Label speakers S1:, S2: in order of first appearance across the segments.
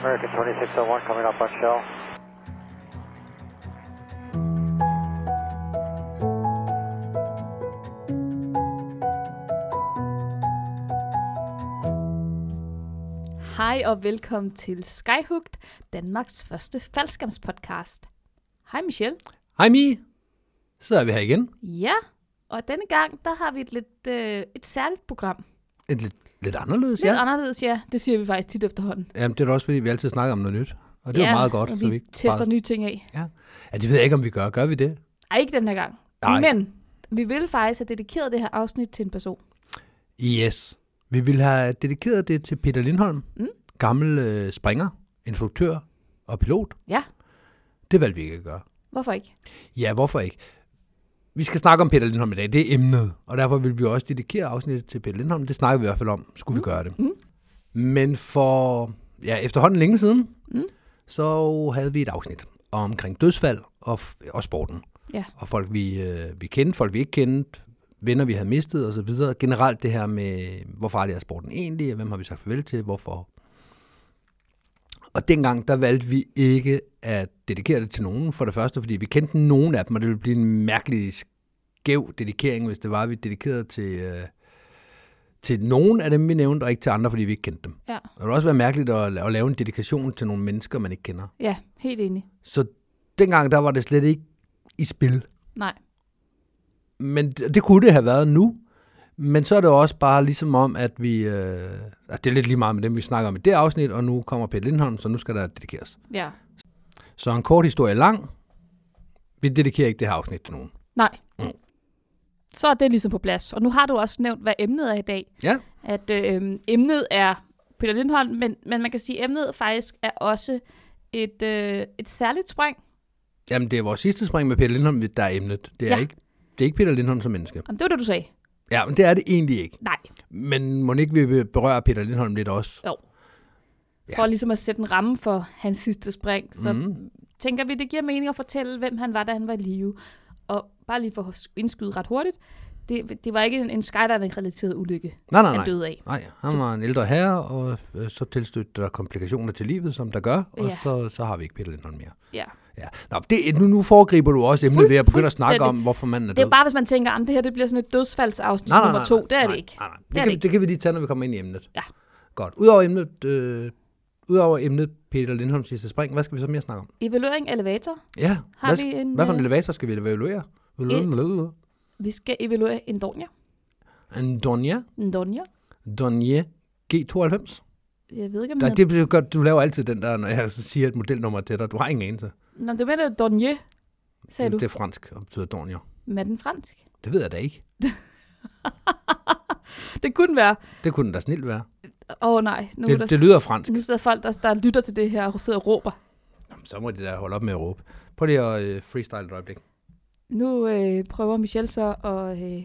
S1: American 2601 coming up on shell.
S2: Hej og velkommen til Skyhooked, Danmarks første faldskærmspodcast. Hej Michelle.
S3: Hej Mi. Så er vi her igen.
S2: Ja, og denne gang der har vi et lidt øh, et særligt program.
S3: Et lidt, lidt anderledes,
S2: Lidt
S3: ja.
S2: anderledes, ja. Det siger vi faktisk tit efterhånden.
S3: Jamen, det er da også, fordi vi altid snakker om noget nyt. Og det er jo meget godt.
S2: og
S3: så
S2: vi
S3: ikke
S2: tester nye ting af.
S3: Ja. ja, det ved jeg ikke, om vi gør. Gør vi det?
S2: Ej, ikke den her gang.
S3: Nej.
S2: Men vi vil faktisk have dedikeret det her afsnit til en person.
S3: Yes. Vi ville have dedikeret det til Peter Lindholm.
S2: Mm.
S3: Gammel øh, springer, instruktør og pilot.
S2: Ja,
S3: Det valgte vi ikke at gøre.
S2: hvorfor ikke?
S3: Ja, hvorfor ikke? Vi skal snakke om Peter Lindholm i dag. Det er emnet. Og derfor vil vi også dedikere afsnittet til Peter Lindholm. Det snakker vi i hvert fald om. Skulle vi gøre det? Men for ja, efterhånden længe siden,
S2: Mm.
S3: så havde vi et afsnit omkring dødsfald og, f- og sporten.
S2: Ja.
S3: Og folk, vi, øh, vi kendte, folk, vi ikke kendte, venner, vi havde mistet osv. Generelt det her med, hvor farlig er sporten egentlig, og hvem har vi sagt farvel til, hvorfor. Og dengang, der valgte vi ikke at dedikere det til nogen, for det første, fordi vi kendte nogen af dem, og det ville blive en mærkelig skæv dedikering, hvis det var, at vi dedikerede til, øh, til nogen af dem, vi nævnte, og ikke til andre, fordi vi ikke kendte dem.
S2: Ja,
S3: Det ville også være mærkeligt at, la- at lave en dedikation til nogle mennesker, man ikke kender.
S2: ja helt enig.
S3: Så dengang, der var det slet ikke i spil.
S2: Nej,
S3: Men det, det kunne det have været nu. Men så er det jo også bare ligesom om, at vi... Øh, at det er lidt lige meget med dem, vi snakker om i det afsnit, og nu kommer Peter Lindholm, så nu skal der dedikeres.
S2: ja.
S3: Så en kort historie lang. Vi dedikerer ikke det her afsnit til nogen.
S2: Nej.
S3: Mm.
S2: Så er det ligesom på plads. Og nu har du også nævnt, hvad emnet er i dag.
S3: Ja.
S2: At øh, emnet er Peter Lindholm, men, men man kan sige, at emnet faktisk er også et, øh, et særligt spring.
S3: Jamen, det er vores sidste spring med Peter Lindholm, der er emnet. Det er,
S2: Ja.
S3: ja. ikke, det er ikke Peter Lindholm som menneske.
S2: Jamen, det var det, du sagde.
S3: Ja, men det er det egentlig ikke.
S2: Nej.
S3: Men må ikke vi berører Peter Lindholm lidt også?
S2: Jo.
S3: Ja.
S2: For ligesom at sætte en ramme for hans sidste spring, så
S3: Mhm.
S2: tænker vi, det giver mening at fortælle, hvem han var, da han var i live. Og bare lige for at indskyde ret hurtigt, det, det var ikke en, en skydiving-relateret ulykke,
S3: Nej, nej,
S2: han
S3: nej.
S2: døde af.
S3: Nej, han var en ældre herre, og øh, så tilstødte der komplikationer til livet, som der gør, og
S2: Ja.
S3: så, så har vi ikke Peter Lindholm mere.
S2: Ja.
S3: Ja. Nå, det, nu, nu foregriber du også emnet ved at begynde at snakke
S2: fuldstændig.
S3: om, hvorfor manden er
S2: Det
S3: død.
S2: er bare, hvis man tænker, at det her det bliver sådan et dødsfaldsafsnit nummer to. Det er det ikke.
S3: Nej, nej. Det,
S2: Det er det
S3: kan, det,
S2: ikke.
S3: det kan vi lige tage, når vi kommer ind i emnet.
S2: Ja.
S3: Godt. Udover emnet, øh, udover emnet Peter Lindholms sidste spring, hvad skal vi så mere snakke om?
S2: Evaluering af elevator.
S3: Ja,
S2: Har
S3: hvad,
S2: vi
S3: sk-
S2: en,
S3: hvad for en
S2: øh,
S3: elevator skal vi evaluere? Evaluere.
S2: Vi skal evaluere en donja.
S3: En Donja,
S2: En donja.
S3: Donje G92.
S2: Mm. Jeg ved ikke, om
S3: Der,
S2: den-
S3: det bliver godt, du laver altid den der, når jeg siger et modelnummer til dig. Du har ingen anelse.
S2: Nå, det var det donje, sagde du.
S3: Det er fransk og betyder donjer.
S2: Men er den fransk?
S3: Det ved jeg da ikke.
S2: Det kunne være.
S3: Det kunne den da snilt være.
S2: Åh oh, nej, nu, det, er der,
S3: Det, det lyder fransk.
S2: nu sidder folk, der, der lytter til det her og sidder og råber.
S3: Jamen, så må de da holde op med at råbe. Prøv lige at øh, freestyle et øjeblik.
S2: Nu øh, prøver Michelle så at, øh,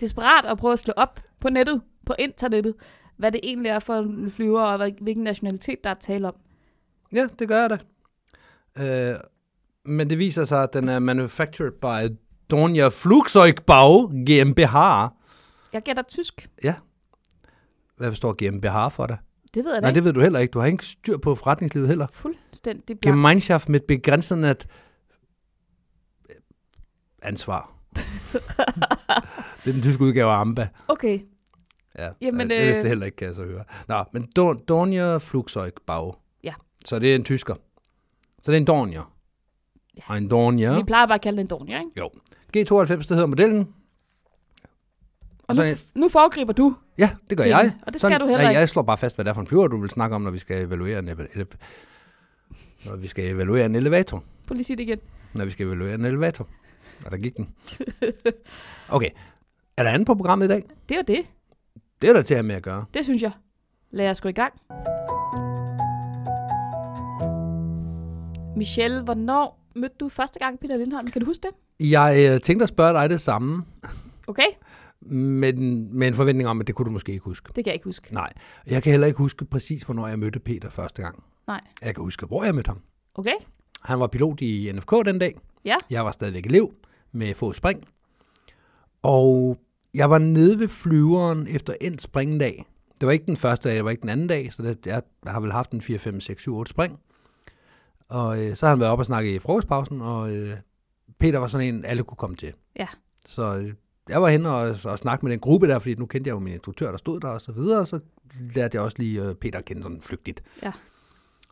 S2: desperat at prøve at slå op på nettet, på internettet, hvad det egentlig er for en flyver, og hvad- hvilken nationalitet, der er tale om.
S3: Ja, det gør jeg da. Øh, men det viser sig, at den er manufactured by Donja Flugzeugbau GmbH.
S2: Jeg gætter tysk.
S3: Hvad står GmbH for dig?
S2: Det ved jeg da
S3: Nej,
S2: ikke.
S3: det ved du heller ikke. Du har ikke styr på forretningslivet heller.
S2: Fuldstændig
S3: Ja.
S2: blank.
S3: Gemeinschaft med begrænsende at- ansvar. det er den tyske udgave af Amba.
S2: Okay,
S3: Ja,
S2: Jamen,
S3: Jamen, det vidste
S2: øh,
S3: jeg heller ikke, kan jeg så høre. Nå, men Don- Dornier Flugzeugbau.
S2: Ja.
S3: Så det er en tysker. Så det er en Dornier.
S2: Ja.
S3: Ja. Og en
S2: ja. vi
S3: Dornier.
S2: plejer bare at kalde den en donja, ikke?
S3: Jo. G92, det hedder modellen.
S2: Og
S3: Og
S2: nu,
S3: så en-
S2: nu foregriber du.
S3: Ja, Altså, det gør
S2: Til-
S3: jeg.
S2: og det skal du heller
S3: ja,
S2: ikke.
S3: Jeg slår bare fast, hvad det er for en flyver, du vil snakke om, når vi skal evaluere en, eva- ele- når vi skal evaluere en elevator.
S2: Prøv lige at sige det igen.
S3: Når vi skal evaluere en elevator. Og der gik den. Okay. Er der andet på programmet i dag?
S2: Det var det.
S3: Det er der til at have med at gøre.
S2: Det synes jeg. Lad os gå i gang. Michelle, hvornår mødte du første gang Peter Lindholm? Kan du huske det?
S3: Jeg øh, tænkte at spørge dig det samme,
S2: Okay,
S3: med, den- med en forventning om, at det kunne du måske ikke huske.
S2: det kan jeg ikke huske.
S3: Nej, jeg kan heller ikke huske præcis, hvornår jeg mødte Peter første gang.
S2: Nej.
S3: Jeg kan huske, hvor jeg mødte ham.
S2: Okay,
S3: Han var pilot i NFK den dag.
S2: Ja.
S3: Jeg var stadigvæk elev med få spring. Og jeg var nede ved flyveren efter en springdag. Det var ikke den første dag, det var ikke den anden dag, så det, jeg har vel haft en 4, 5, 6, 7, 8 spring. Og øh, så har han været op og snakke i frokostpausen, og øh, Peter var sådan en, alle kunne komme til.
S2: Ja.
S3: Så øh, jeg var henne og, og snakke med den gruppe der, fordi nu kendte jeg jo min instruktør, der stod der og så videre, og så lærte jeg også lige øh, Peter at kende sådan flygtigt.
S2: Ja.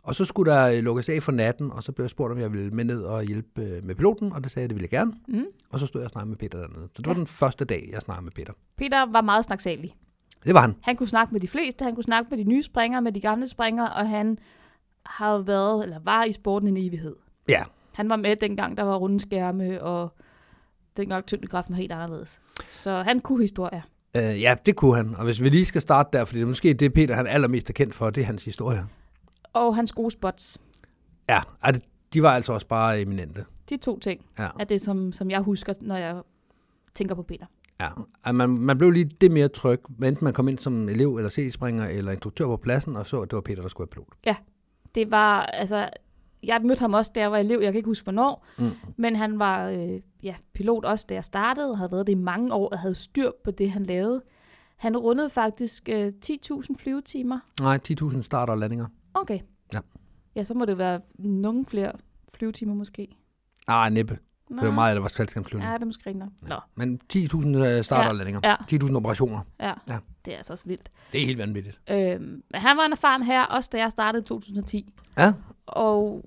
S3: Og så skulle der øh, lukkes af for natten, og så blev jeg spurgt, om jeg ville med ned og hjælpe øh, med piloten, og det sagde jeg, det ville jeg gerne.
S2: Mm.
S3: Og så stod jeg og snakkede med Peter dernede. Så det var den første dag, jeg snakkede med Peter.
S2: Peter var meget snaksalig.
S3: Det var han.
S2: Han kunne snakke med de fleste, han kunne snakke med de nye springere, med de gamle springere, og han har jo været, eller var i sporten en evighed.
S3: Ja,
S2: Han var med dengang, der var runde skærme, og dengang tyngdekraften var helt anderledes. Så han kunne historier.
S3: Øh, ja, det kunne han. Og hvis vi lige skal starte der, fordi det er måske det, Peter han er allermest er kendt for, det er hans historier.
S2: Og hans gode spots.
S3: Ja, ej, det- de var altså også bare eminente.
S2: De to ting
S3: Ja,
S2: er det, som, som jeg husker, når jeg tænker på Peter.
S3: ja. Ej, man, man blev lige det mere tryg, hvad enten man kom ind som elev eller C-springer eller instruktør på pladsen, og så, at det var Peter, der skulle have pilot.
S2: Det var, altså, jeg mødte ham også, da jeg var elev, jeg kan ikke huske hvornår,
S3: Mm.
S2: men han var øh, ja, pilot også, da jeg startede, og havde været det i mange år, og havde styr på det, han lavede. Han rundede faktisk øh, 10.000 flyvetimer.
S3: Nej, 10.000 starter og landinger.
S2: Okay.
S3: Ja.
S2: Ja, så må det være nogle flere flyvetimer måske.
S3: Nej, Ah, næppe. For det var meget, der var
S2: Ja,
S3: svalgskabsflyvning.
S2: det er måske rigtigt nok. Nå,
S3: Men 10.000 øh, starter og landinger.
S2: ja.
S3: 10.000 operationer.
S2: ja.
S3: Ja.
S2: Det er altså også vildt.
S3: Det er helt vanvittigt.
S2: Øhm, men han var en erfaren her, også da jeg startede i 2010.
S3: Ja,
S2: Og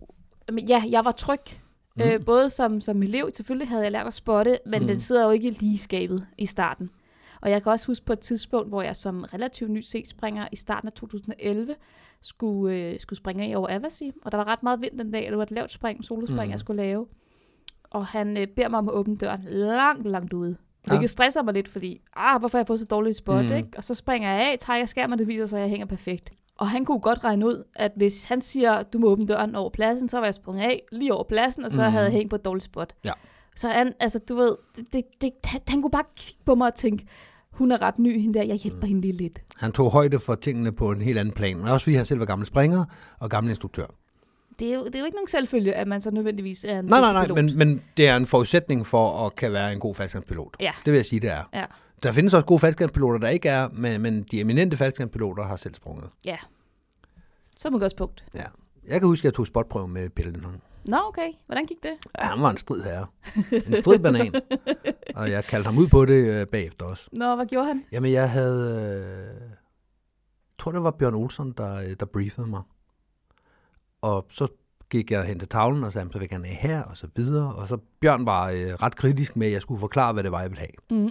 S2: men ja, jeg var tryg. Mm. Øh, både som, som elev, selvfølgelig havde jeg lært at spotte, men mm. den sidder jo ikke lige i skabet i starten. Og jeg kan også huske på et tidspunkt, hvor jeg som relativt ny C-springer i starten af 2011 skulle, øh, skulle springe af over Avasi. Og der var ret meget vind den dag, og det var et lavt spring, solospring, mm. jeg skulle lave. Og han øh, beder mig om at åbne døren langt, langt ude. Hvilket
S3: Ja.
S2: stresser mig lidt, fordi, ah, hvorfor har jeg fået så dårligt spot,
S3: Mm.
S2: mm. ikke? Og så springer jeg af, trækker skærmen, og det viser sig, at jeg hænger perfekt. Og han kunne godt regne ud, at hvis han siger, du må åbne døren over pladsen, så var jeg sprunget af lige over pladsen, og så mm. havde jeg hængt på et dårligt spot.
S3: Ja.
S2: Så han, altså du ved, det, det, det, han, han kunne bare kigge på mig og tænke, hun er ret ny, hende der, jeg hjælper mm. hende lige lidt.
S3: han tog højde for tingene på en helt anden plan. Men også fordi han selv var gammel springer og gammel instruktør.
S2: Det er, jo, det er jo ikke nogen selvfølge, at man så nødvendigvis er en
S3: Nej, nej, nej,
S2: pilot.
S3: men, men det er en forudsætning for at kan være en god faldskærmspilot.
S2: Ja.
S3: Det vil jeg sige, det er.
S2: Ja,
S3: Der findes også gode faldskærmspiloter, der ikke er, men, men de eminente faldskærmspiloter har selv sprunget.
S2: ja. Som udgangspunkt.
S3: Ja. Jeg kan huske, at jeg tog spotprøve med Pelle Lindholm.
S2: Nå, okay. Hvordan gik det?
S3: Ja, han var en strid herre. En strid banan. og jeg kaldte ham ud på det øh, bagefter også.
S2: Nå, hvad gjorde han?
S3: Jamen, jeg havde... Øh, jeg tror, det var Bjørn Olsen, der, øh, der briefede mig. Og så gik jeg hen til tavlen og sagde, "Jamen, så vil jeg gerne have her, og så videre. Og så Bjørn var øh, ret kritisk med, at jeg skulle forklare, hvad det var, jeg ville have.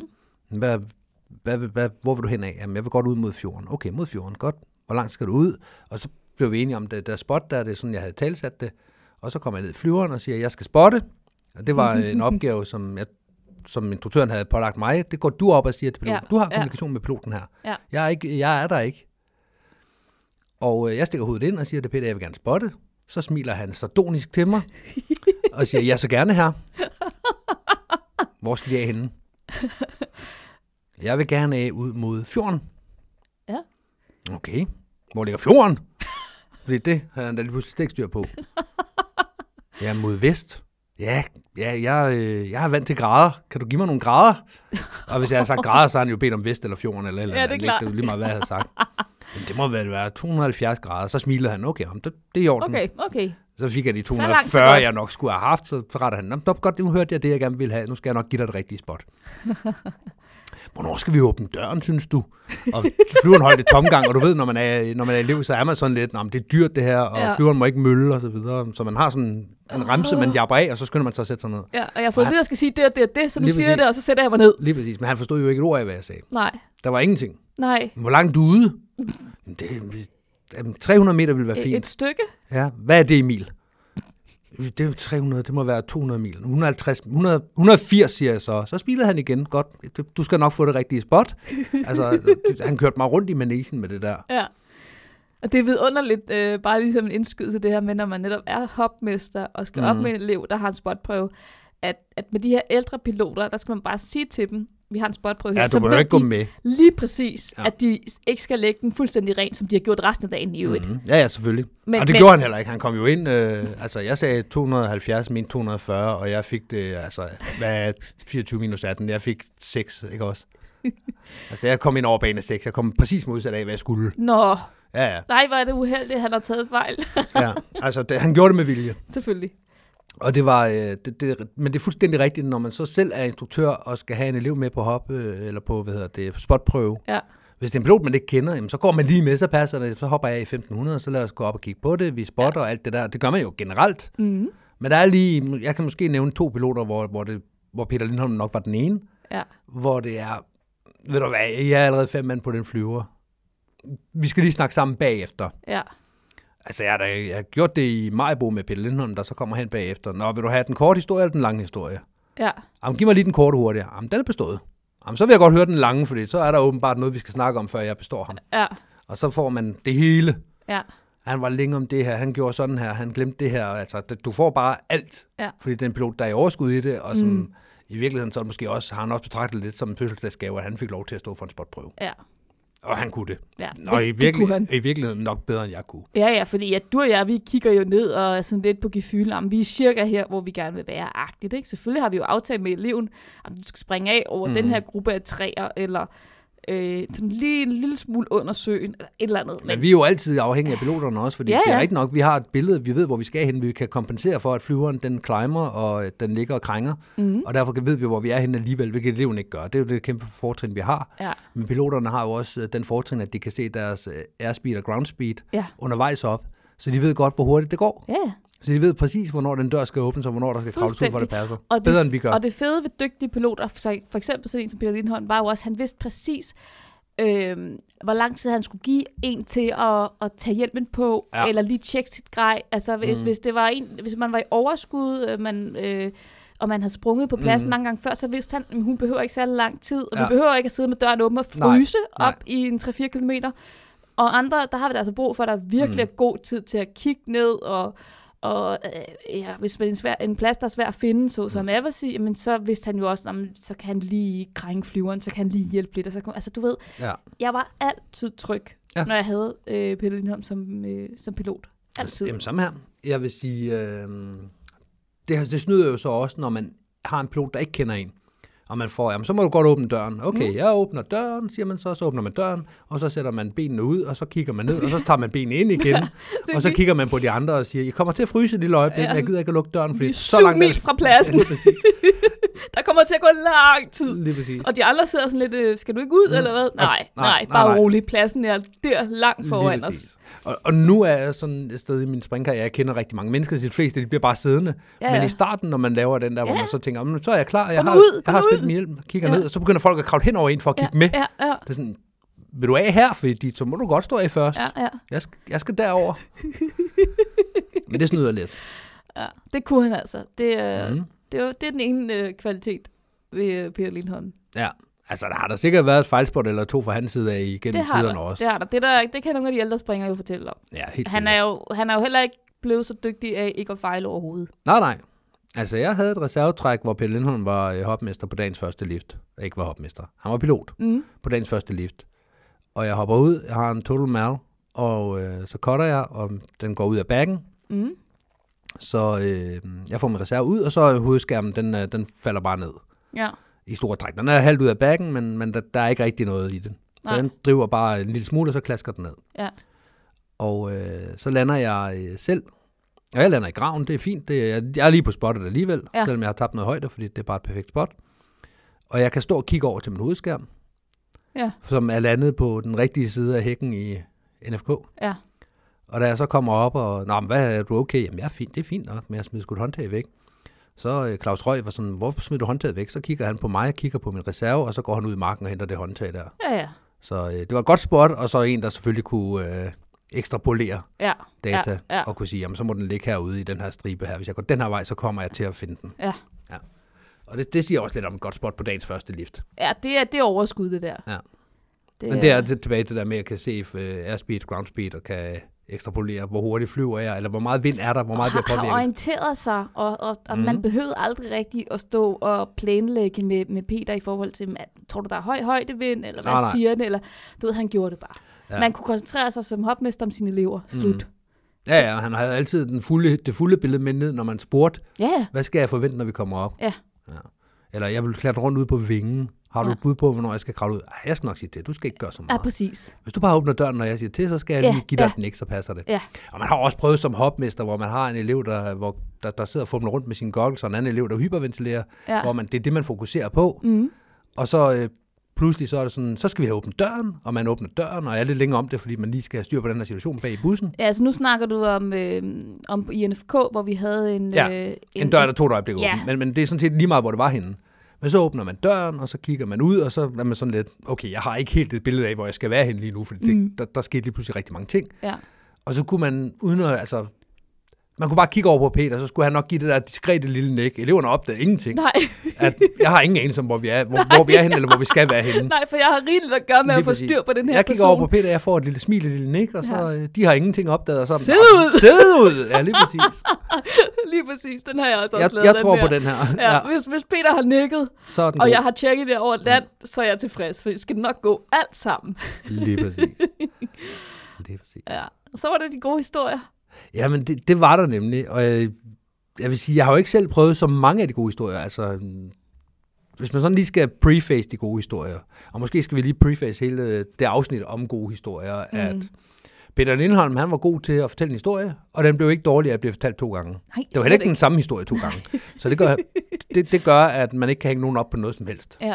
S2: Mm.
S3: Hvad, hvad, hvad, hvor vil du hen af? Jamen, jeg vil godt ud mod fjorden. Okay, mod fjorden, godt. Hvor langt skal du ud? Og så blev vi enige om, det der spot der, det er sådan, jeg havde talsat det. Og så kom jeg ned i flyveren og siger, jeg skal spotte. Og det var en opgave, som, jeg, som instruktøren havde pålagt mig. Det går du op og siger til piloten.
S2: Ja,
S3: Ja, du har
S2: ja.
S3: kommunikation ja. med piloten her.
S2: Ja.
S3: Jeg, er ikke, jeg er der ikke. Og øh, jeg stikker hovedet ind og siger til Peter, jeg vil gerne spotte. Så smiler han sardonisk til mig og siger, jeg så gerne her. Hvor skal vi af henne? Jeg vil gerne af ud mod fjorden.
S2: Ja.
S3: Okay. Hvor ligger fjorden? Fordi det havde han da lige pludselig slet ikke styr på. Ja, mod vest. Ja, ja jeg, øh, jeg er vant til grader. Kan du give mig nogle grader? Og hvis jeg har sagt grader, så har han jo bedt om vest eller fjorden eller et eller
S2: Ja, det er
S3: andet.
S2: klart.
S3: Det er jo lige meget, hvad jeg havde sagt. Jamen, det må vel være 270 grader. Så smilede han. Okay, jamen, det, det er i orden.
S2: Okay, okay.
S3: Så fik jeg de
S2: Så langt,
S3: 240,
S2: så godt.
S3: jeg nok skulle have haft, så retter han, "Nå, nå, godt, nu hørte jeg det, jeg gerne ville have, nu skal jeg nok give dig det rigtige spot. Hvornår skal vi åbne døren, synes du? Og flyveren holdt i tomgang, og du ved, når man er, når man er elev, så er man sådan lidt, "Nå, men det er dyrt det her, og
S2: Ja.
S3: ja. flyveren må ikke mølle og så videre. Så man har sådan en remse, man japper af, og så skynder man sig at sætte sig ned.
S2: Ja, og jeg har fået
S3: Nej.
S2: det, der skal sige det og det og det, så nu
S3: Lige
S2: siger jeg det,
S3: præcis.
S2: og så sætter jeg mig ned.
S3: Lige præcis, men han forstod jo ikke et ord af, hvad jeg sagde.
S2: Nej,
S3: Der var ingenting.
S2: nej.
S3: Hvor langt er du ude? Jamen, Det, jamen, 300 meter ville være
S2: Et,
S3: fint.
S2: et stykke?
S3: Ja, hvad er det i mil? Det er jo 300, det må være 200 mil. 150, 100, 180 siger jeg så. Så spilede han igen. Godt, du- du skal nok få det rigtige spot. Altså, det- han kørte mig rundt i manegen med det der.
S2: Ja. Og det er vidunderligt, øh, bare ligesom en indskydelse det her med, når man netop er hopmester og skal mm.
S3: Mm-hmm.
S2: op med en elev, der har en spotprøve, at, at med de her ældre piloter, der skal man bare sige til dem, vi har en spotprøve her,
S3: Ja, du må jo
S2: ved
S3: ikke gå
S2: de
S3: med.
S2: lige præcis,
S3: Ja.
S2: ja. at de ikke skal lægge den fuldstændig ren, som de har gjort resten af dagen i øvrigt. Mm.
S3: Mm, ja, ja, selvfølgelig.
S2: Men-
S3: Men, og
S2: men-
S3: det men... gjorde han heller ikke. Han kom jo ind, øh, altså jeg sagde 270, min 240, og jeg fik det, altså, hvad er 24 minus 18? Jeg fik 6, ikke også? Altså, jeg kom ind over bane 6. Jeg kom præcis modsat af, hvad jeg skulle.
S2: Nå,
S3: Ja, ja.
S2: nej, hvor er det uheldigt, han har taget fejl.
S3: ja. Altså, det, han gjorde det med vilje.
S2: Selvfølgelig.
S3: Og det var, øh, det, det, men det er fuldstændig rigtigt, når man så selv er instruktør og skal have en elev med på hop, øh, eller på, hvad hedder det, spotprøve.
S2: Ja.
S3: Hvis det er en pilot, man ikke kender, jamen, så går man lige med, så passer det, så hopper jeg i 1500, så lad os gå op og kigge på det, vi spotter og alt det der. Det gør man jo generelt.
S2: Mm.
S3: Men der er lige, jeg kan måske nævne to piloter, hvor, hvor, det, hvor Peter Lindholm nok var den ene,
S2: Ja.
S3: hvor det er, ved du hvad, jeg er allerede fem mand på den flyver. Vi skal lige snakke sammen bagefter.
S2: Ja.
S3: Altså, jeg har, da, jeg har gjort det i Majbo med Peter Lindholm, der så kommer hen bagefter. Nå, vil du have den korte historie eller den lange historie?
S2: Ja.
S3: Jamen, giv mig lige den korte hurtigt. Jamen, den er bestået. Jamen, så vil jeg godt høre den lange, fordi så er der åbenbart noget, vi skal snakke om, før jeg består ham.
S2: Ja.
S3: Og så får man det hele.
S2: Ja.
S3: Han var længe om det her, han gjorde sådan her, han glemte det her. Altså, det- du får bare alt,
S2: Ja.
S3: fordi den pilot, der er i overskud i det, og som mm. i virkeligheden så måske også, har han også betragtet det lidt som en fødselsdagsgave, at han fik lov til at stå for en spotprøve.
S2: Ja.
S3: Og han kunne det.
S2: Ja,
S3: og i,
S2: det- det
S3: virkelig,
S2: kunne han.
S3: i virkeligheden nok bedre, end jeg kunne.
S2: Ja, ja, fordi at du og jeg, vi kigger jo ned og er sådan lidt på gefylen, om vi er cirka her, hvor vi gerne vil være agtigt, ikke? Selvfølgelig har vi jo aftalt med eleven, om du skal springe af over mm. den
S3: Mhm.
S2: her gruppe af træer, eller øh, sådan lige en lille smule under søen, eller et eller andet.
S3: Men vi er jo altid afhængige af piloterne også, fordi
S2: Ja,
S3: ja, ja. det
S2: ja.
S3: er rigtigt nok, vi har et billede, vi ved, hvor vi skal hen, vi kan kompensere for, at flyveren den climber, og øh, den ligger og krænger,
S2: Mhm.
S3: mm. og derfor kan- ved vi, hvor vi er henne alligevel, hvilket eleven ikke gør. Det er jo det kæmpe fortrin, vi har.
S2: Ja.
S3: Men piloterne har jo også øh, den fortrin, at de kan se deres øh, airspeed og ground speed
S2: Ja.
S3: undervejs op, så de ved godt, hvor hurtigt det går.
S2: Ja, ja.
S3: Så de ved præcis, hvornår den dør skal åbnes, og hvornår der skal kravles ud, hvor det passer.
S2: Og det,
S3: Bedre, end vi gør.
S2: Og det fede ved dygtige piloter, for for eksempel sådan en som Peter Lindholm, var jo også, at han vidste præcis, øh, hvor lang tid han skulle give en til at, at tage hjælpen på, ja.
S3: Ja.
S2: eller lige tjekke sit grej. Altså hvis, mm. hvis, det var en, hvis man var i overskud, øh, man, øh, og man havde sprunget på pladsen mm. mange gange før, så vidste han, at hun behøver ikke særlig lang tid, og ja.
S3: Ja.
S2: vi behøver ikke at sidde med døren åben og
S3: Nej,
S2: fryse
S3: nej.
S2: op i en 3-4 kilometer. Og andre, der har vi da altså brug for, at der virkelig
S3: Mm.
S2: er god tid til at kigge ned, og, og øh, ja, hvis man er en, svær, en plads, der er svær at finde, så
S3: Mm.
S2: som Aversi, men så vidste han jo også, jamen, så kan han lige krænge flyveren, så kan han lige hjælpe lidt. Og så kan, altså du ved,
S3: Ja.
S2: jeg var altid tryg, ja.
S3: Ja.
S2: når jeg havde øh, Pelle Lindholm som, øh, som pilot. Altid.
S3: Jamen, samme her. Jeg vil sige, øh, det, det snyder jo så også, når man har en pilot, der ikke kender en. Og man får, jamen, så må du godt åbne døren. Okay, mm. jeg åbner døren, siger man så, så åbner man døren, og så sætter man benene ud, og så kigger man ned, og så tager man benene ind igen, og så
S2: lige-
S3: kigger man på de andre og siger, jeg kommer til at fryse et lille øjeblik,
S2: Ja.
S3: men jeg gider ikke at lukke døren,
S2: Vi
S3: fordi
S2: er
S3: så
S2: syv
S3: langt ned-
S2: mil fra pladsen.
S3: Ja, lige præcis.
S2: Der kommer til at gå lang tid.
S3: Lige præcis.
S2: Og de andre sidder sådan lidt, øh, skal du ikke ud, mm. eller hvad? Nej, nej, nej,
S3: Mm. nej,
S2: bare
S3: nej.
S2: rolig. Pladsen er der langt foran
S3: Lige
S2: os.
S3: præcis. Og, og nu er jeg sådan et sted i min springkarriere, jeg kender rigtig mange mennesker, så de fleste de bliver bare siddende.
S2: Ja,
S3: Ja, ja.
S2: ja.
S3: Men i starten, når man laver den der, hvor
S2: Ja.
S3: man så tænker, "Jamen, så er jeg klar, jeg
S2: Kom nu
S3: har,
S2: ud, kom
S3: jeg har
S2: nu ud."
S3: spændt min hjelm, kigger
S2: Ja.
S3: ned, og så begynder folk at kravle hen over en for at kigge med.
S2: Ja, ja,
S3: Det er sådan, vil du af her, fordi de, så må du godt stå af først.
S2: ja, ja.
S3: Jeg, skal, jeg skal derover. Men det snyder lidt.
S2: Ja, det kunne han altså. Det, øh, mm.
S3: Mhm.
S2: det, var, det er den ene øh, kvalitet ved øh, Peter Lindholm.
S3: Ja. Altså, der har der sikkert været et fejlspot eller to fra hans side af
S2: Det
S3: igennem
S2: har,
S3: tiderne
S2: der,
S3: også.
S2: det har der. Det, der. det kan nogle af de ældre springere jo fortælle om.
S3: Ja, helt
S2: Han er, jo, han er jo heller ikke blevet så dygtig af ikke at fejle overhovedet.
S3: Nej, nej. Altså, jeg havde et reservetræk, hvor Pelle Lindholm var øh, hopmester på dagens første lift. Ikke var hopmester. Han var pilot
S2: Mm.
S3: på dagens første lift. Og jeg hopper ud, jeg har en total mal, og øh, så cutter jeg, og den går ud af bakken.
S2: Mm.
S3: Så øh, jeg får min reserve ud, og så er hovedskærmen, den, øh, den falder bare ned
S2: Ja,
S3: i store træk. Den er halvt ud af bakken, men, men der, der er ikke rigtig noget i den. Så
S2: Nej.
S3: den driver bare en lille smule, og så klasker den ned.
S2: ja,
S3: Og øh, så lander jeg øh, selv. Og jeg lander i graven, det er fint. Det, er- jeg, jeg er lige på spottet alligevel,
S2: Ja.
S3: ja. selvom jeg har tabt noget højde, fordi det er bare et perfekt spot. Og jeg kan stå og kigge over til min hovedskærm,
S2: ja,
S3: som er landet på den rigtige side af hækken i NFK.
S2: ja.
S3: Og da jeg så kommer op og, nå, men hvad, er du okay? Jamen, jeg er fint, det er fint nok, men jeg smider sgu et håndtag væk. Så øh, Claus Røg var sådan, hvorfor smider du håndtaget væk? Så kigger han på mig, jeg kigger på min reserve, og så går han ud i marken og henter det håndtag der.
S2: Ja, ja.
S3: Så øh, det var et godt spot, og så en, der selvfølgelig kunne øh, ekstrapolere
S2: ja.
S3: data,
S2: Ja,
S3: ja,
S2: ja.
S3: ja. og kunne sige, jamen så må den ligge herude i den her stribe her. Hvis jeg går den her vej, så kommer jeg til at finde den.
S2: Ja.
S3: ja. Og det, det siger også lidt om et godt spot på dagens første lift.
S2: ja det, er, det er overskud, det der.
S3: Ja.
S2: Det,
S3: Men det er det, tilbage til det der med, at jeg kan se øh, airspeed, ground speed, og kan ekstrapolere, hvor hurtigt flyver jeg, eller hvor meget vind er der, hvor meget bliver
S2: har, har
S3: påvirket.
S2: orienteret sig, og, og, og mm.
S3: Mhm.
S2: man behøvede aldrig rigtig at stå og planlægge med, med Peter i forhold til, at, tror du, der er høj højdevind, eller hvad nej,
S3: Nej, nej.
S2: siger den, eller du ved, han gjorde det bare. Ja.
S3: Ja. Mhm.
S2: Man kunne koncentrere sig som hopmester om sine elever. Slut. Mm.
S3: Ja, ja, og han havde altid den fulde, det fulde billede med ned, når man spurgte,
S2: Ja, ja.
S3: hvad skal jeg forvente, når vi kommer op?
S2: Ja.
S3: ja. Eller jeg vil klatre rundt ud på vingen. Har du
S2: Ja.
S3: et bud på, hvornår jeg skal kravle ud? Ej, jeg skal nok sige det. Du skal ikke gøre så
S2: Ja,
S3: meget.
S2: præcis.
S3: Hvis du bare åbner døren, når jeg siger til, så skal jeg
S2: Ja,
S3: lige give dig
S2: ja.
S3: den ikke, så passer det.
S2: Ja.
S3: Og man har også prøvet som hopmester, hvor man har en elev, der, hvor, der, der sidder og fumler rundt med sin goggle, og en anden elev, der hyperventilerer,
S2: Ja.
S3: hvor man, det er det, man fokuserer på.
S2: Mm.
S3: Og så øh, pludselig så er det sådan, så skal vi have åbnet døren, og man åbner døren, og jeg er lidt længere om det, fordi man lige skal have styr på den her situation bag i bussen.
S2: Ja, altså nu snakker du om, øh, om INFK, hvor vi havde en...
S3: Ja,
S2: øh,
S3: En dør, der tog et øjeblik
S2: Ja.
S3: åben, men, men det er sådan set lige meget, hvor det var henne. Men så åbner man døren, og så kigger man ud, og så er man sådan lidt, okay, jeg har ikke helt et billede af, hvor jeg skal være henne lige nu, for det, mm. der, der skete lige pludselig rigtig mange ting.
S2: Ja,
S3: Og så kunne man, uden at, altså, man kunne bare kigge over på Peter, så skulle han nok give det der diskrete lille næk. Eleverne opdagede ingenting.
S2: nej.
S3: At jeg har ingen anelse om, hvor vi er, hvor, hvor vi er henne, eller hvor vi skal være henne.
S2: nej, for jeg har rigeligt at gøre med
S3: Lige
S2: at få
S3: præcis.
S2: styr på den her
S3: jeg kigger
S2: person.
S3: over på Peter, jeg får et lille smil, et lille nik, og så
S2: Ja.
S3: ja. de har ingenting opdaget. Og så, er den
S2: Sid
S3: bare,
S2: ud!
S3: Sid ud! Ja, lige præcis.
S2: Lige præcis, den har jeg også
S3: Jeg,
S2: også lavet.
S3: jeg tror
S2: her.
S3: på den her.
S2: Ja, ja. Hvis, hvis Peter har nikket,
S3: så er den
S2: og
S3: god.
S2: jeg har tjekket det over land, så er jeg tilfreds, for det skal nok gå alt sammen.
S3: Lige præcis. Lige præcis.
S2: Ja. Så var det de gode historier.
S3: Jamen, det, det var der nemlig, og jeg, jeg vil sige, jeg har jo ikke selv prøvet så mange af de gode historier, altså mm, hvis man sådan lige skal preface de gode historier, og måske skal vi lige preface hele øh, det afsnit om gode historier, mm. at Peter Lindholm, han var god til at fortælle en historie, og den blev ikke dårlig at blive fortalt to gange.
S2: Nej,
S3: Det var
S2: slet
S3: heller ikke den samme historie to gange. Så det gør, det, det gør, at man ikke kan hænge nogen op på noget som helst.
S2: Ja,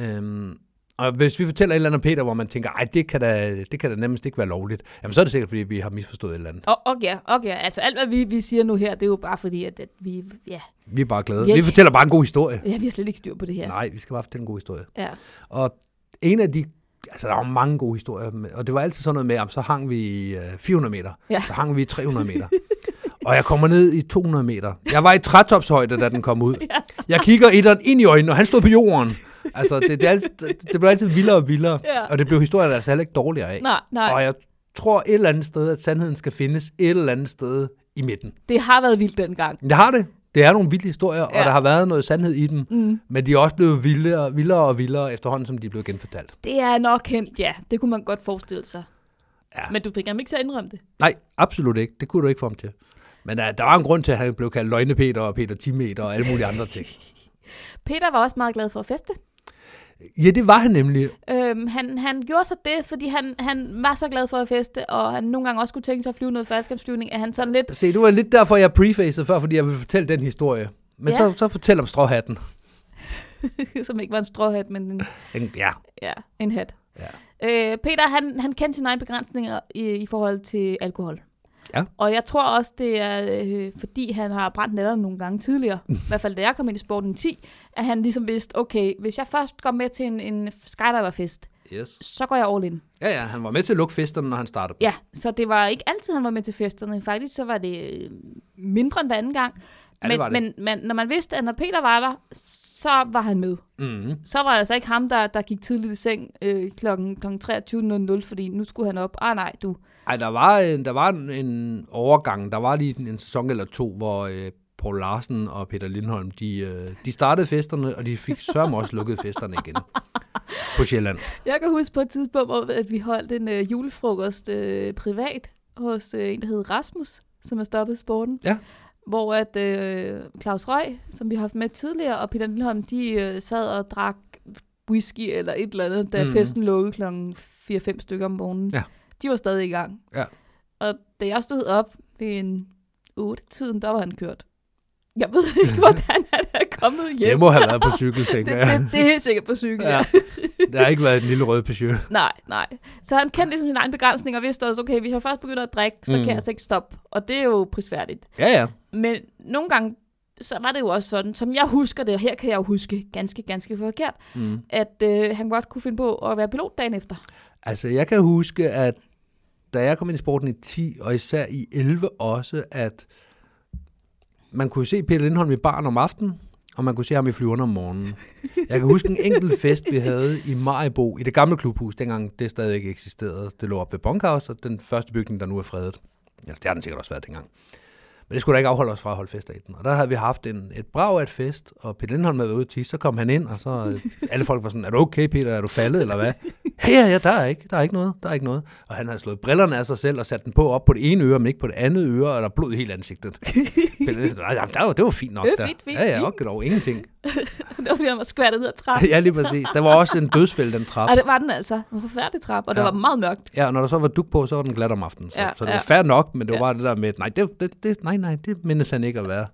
S3: Øhm, og hvis vi fortæller et eller andet om Peter, hvor man tænker, ej, det kan da, det kan da nemmest ikke være lovligt, jamen så er det sikkert, fordi vi har misforstået et eller andet.
S2: og, og ja, og ja. Altså alt, hvad vi, vi siger nu her, det er jo bare fordi, at, at vi, ja.
S3: Vi er bare glade.
S2: Ja.
S3: Vi fortæller bare en god historie.
S2: ja, vi har slet ikke styr på det her.
S3: Nej, vi skal bare fortælle en god historie.
S2: Ja.
S3: Og en af de, altså der var mange gode historier, men- og det var altid sådan noget med, jamen, så hang vi i, øh, 400 meter,
S2: Ja.
S3: så hang vi i 300 meter. Og jeg kommer ned i 200 meter. Jeg var i trætopshøjde, da den kom ud. Jeg kigger etteren ind i øjnene, og han stod på jorden. Altså, det, det, er altid, det, det blev altid vildere og vildere.
S2: Ja.
S3: Og det blev historien altså heller ikke dårligere af.
S2: Nej, nej.
S3: Og jeg tror et eller andet sted, at sandheden skal findes et eller andet sted i midten.
S2: Det har været vildt dengang.
S3: Men det har det. Det er nogle vilde historier, ja.
S2: Ja.
S3: og der har været noget sandhed i dem. Mm. Men de er også blevet vildere, vildere og vildere efterhånden, som de er blevet genfortalt.
S2: Det er nok hent, ja. Det kunne man godt forestille sig.
S3: Ja.
S2: Men du fik ham ikke til at indrømme det.
S3: Nej, absolut ikke. Det kunne du ikke få ham til. Men uh, der var en grund til, at han blev kaldt Løgnepeter og Peter 10 meter og alle mulige andre ting.
S2: Peter var også meget glad for at feste.
S3: Ja, det var han nemlig.
S2: Øhm, han, han gjorde så det, fordi han, han var så glad for at feste, og han nogle gange også kunne tænke sig at flyve noget faldskabsflyvning, at han sådan lidt...
S3: Se, det var lidt derfor, jeg prefacede før, fordi jeg ville fortælle den historie. Men
S2: Ja.
S3: så, så fortæl om stråhatten.
S2: som ikke var en stråhat, men en,
S3: Den- Ja,
S2: ja, en hat.
S3: Ja.
S2: Øh, Peter, han, han kendte sine egne begrænsninger i, i forhold til alkohol.
S3: Ja.
S2: Og jeg tror også, det er, øh, fordi han har brændt nælderne nogle gange tidligere,
S3: Mm.
S2: i hvert fald da jeg kom ind i sporten i 10, at han ligesom vidste, okay, hvis jeg først går med til en, en skydiverfest,
S3: yes.
S2: så går jeg all in.
S3: Ja, ja, han var med til at lukke festerne, når han startede.
S2: Ja, så det var ikke altid, han var med til festerne. Faktisk så var det øh, mindre end hver anden gang.
S3: Ja, det
S2: men,
S3: var det.
S2: men man, når man vidste, at når Peter var der, så var han med.
S3: Mm-hmm.
S2: Så var det altså ikke ham, der, der gik tidligt i seng øh, kl. 23.00, fordi nu skulle han op. Ah nej, du.
S3: Ej, der var, en, der var en, en overgang. Der var lige en, en sæson eller to, hvor øh, Paul Larsen og Peter Lindholm, de, øh, de startede festerne, og de fik sørme også lukket festerne igen på Sjælland.
S2: Jeg kan huske på et tidspunkt, hvor at vi holdt en øh, julefrokost øh, privat hos øh, en, der hed Rasmus, som er stoppet i sporten.
S3: Ja.
S2: Hvor at øh, Claus Røg, som vi har haft med tidligere, og Peter Lindholm, de øh, sad og drak whisky eller et eller andet, da
S3: Mhm.
S2: mm. festen lukkede kl. 4-5 stykker om morgenen.
S3: Ja.
S2: De var stadig i gang.
S3: Ja.
S2: Og da jeg stod op ved en 8-tiden, der var han kørt. Jeg ved ikke, hvordan han er kommet hjem.
S3: Det må have været på cykel, tænker
S2: det,
S3: jeg.
S2: det, det er helt sikkert på cykel, ja.
S3: Ja. Der har ikke været en lille rød Peugeot.
S2: Nej, nej. Så han kendte ligesom sin egen begrænsning og vidste også, okay, hvis jeg først begynder at drikke, så mm. kan
S3: Mm.
S2: jeg altså ikke stoppe. Og det er jo prisværdigt.
S3: Ja, ja.
S2: Men nogle gange, så var det jo også sådan, som jeg husker det, og her kan jeg jo huske ganske, ganske forkert,
S3: Mm.
S2: at øh, han godt kunne finde på at være pilot dagen efter.
S3: Altså, jeg kan huske, at da jeg kom ind i sporten i 10, og især i 11 også, at man kunne se Peter Lindholm i baren om aftenen, og man kunne se ham i flyverne om morgenen. Jeg kan huske en enkelt fest, vi havde i Majbo, i det gamle klubhus, dengang det stadig ikke eksisterede. Det lå op ved Bunkhouse, og den første bygning, der nu er fredet. Ja, det har den sikkert også været dengang. Men det skulle da ikke afholde os fra at holde fester i den. Og der havde vi haft en, et brag af et fest, og Peter Lindholm havde været ude til, så kom han ind, og så øh, alle folk var sådan, er du okay, Peter, er du faldet, eller hvad? Ja, ja, der er ikke, der er ikke noget, der er ikke noget. Og han havde slået brillerne af sig selv og sat den på op på det ene øre, men ikke på det andet øre, og der er blod i hele ansigtet. Men, nej, jamen, der var, det var fint nok.
S2: Det var
S3: der.
S2: fint, fint,
S3: ja, ja,
S2: fint.
S3: og dog ingenting.
S2: det var fordi, han var skvattet ned ad trappen.
S3: ja, lige præcis. Der var også en dødsfælde, den trap.
S2: Og det var den altså. En forfærdelig trappe, og det
S3: Ja.
S2: var meget mørkt.
S3: Ja, og når der så var duk på, så var den glat om aftenen. Så, ja,
S2: Ja,
S3: så det var
S2: ja.
S3: fair nok, men det var bare det der med, nej, det, det, det, nej, nej, det mindes han ikke at være.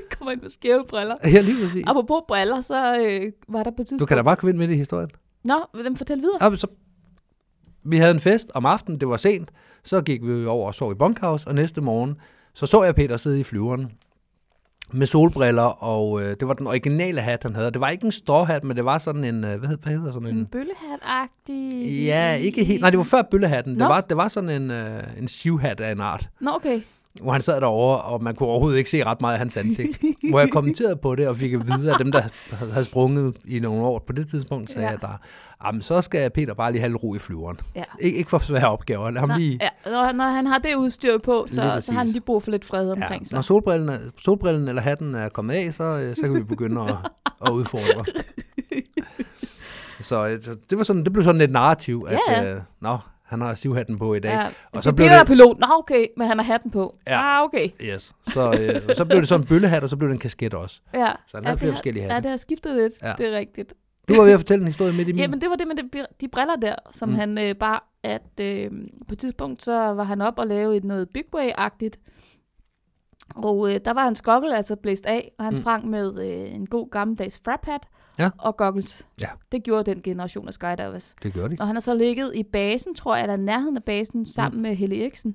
S2: Kommer ind med skæve briller.
S3: Ja, lige præcis.
S2: Apropos briller, så øh, var der på et
S3: Du
S2: tidspunkt...
S3: kan da bare komme ind midt i historien.
S2: Nå, vil dem fortælle videre?
S3: Ja, men så, vi havde en fest om aftenen, det var sent, så gik vi over og sov i bunkhouse, og næste morgen, så så jeg Peter sidde i flyveren med solbriller, og øh, det var den originale hat, han havde. Og Det var ikke en stråhat, men det var sådan en, øh, hvad, hed- hvad hedder sådan en...
S2: En bøllehat-agtig...
S3: Ja, ikke helt. Nej, det var før bøllehatten. Det
S2: Nå.
S3: var, det var sådan en, øh, en sivhat af en art.
S2: Nå, okay.
S3: hvor han sad derovre, og man kunne overhovedet ikke se ret meget af hans ansigt. hvor jeg kommenterede på det, og fik at vide, at dem, der havde sprunget i nogle år på det tidspunkt, sagde
S2: Ja.
S3: ja. at der, jamen, så skal Peter bare lige have lidt ro i flyveren.
S2: Ja.
S3: Ik- ikke for svære opgaver. Lad ham
S2: Nå,
S3: lige...
S2: ja. Når, når han har det udstyr på,
S3: Lige
S2: så,
S3: præcis.
S2: så har han lige brug for lidt fred omkring
S3: Når
S2: sig.
S3: solbrillen, er- solbrillen eller hatten er kommet af, så, øh, så kan vi begynde at, at udfordre. Så øh, så det, var sådan, det blev sådan et narrativ, at
S2: Ja, ja.
S3: Øh, nå, han har sivhatten på i dag.
S2: Ja.
S3: Og
S2: Og
S3: så
S2: så
S3: blev
S2: bliver der
S3: det-
S2: pilot. Nå, okay, men han har hatten på.
S3: Ja.
S2: Ja. Ah, okay.
S3: Yes. Så, øh, så blev det sådan en bøllehat, og så blev det en kasket også.
S2: Ja.
S3: Så han
S2: ja,
S3: havde
S2: det
S3: flere
S2: har-
S3: forskellige
S2: Ja,
S3: hatte.
S2: det har skiftet lidt.
S3: Ja.
S2: Ja. Det er rigtigt.
S3: Du var ved at fortælle en historie midt i min.
S2: Jamen, det var det med de, de briller der, som
S3: Mm.
S2: mm. han øh, bar, at øh, på et tidspunkt, så var han op og lave et noget Big Way-agtigt. Og øh, der var hans goggle altså blæst af, og han
S3: Mm.
S2: mm. sprang med øh, en god gammeldags frap hat
S3: Ja.
S2: og goggles.
S3: Ja.
S2: Det gjorde den generation af skydivers.
S3: det gjorde de.
S2: Og han har så ligget i basen, tror jeg, eller i nærheden af basen, sammen mm. med Helle Eriksen.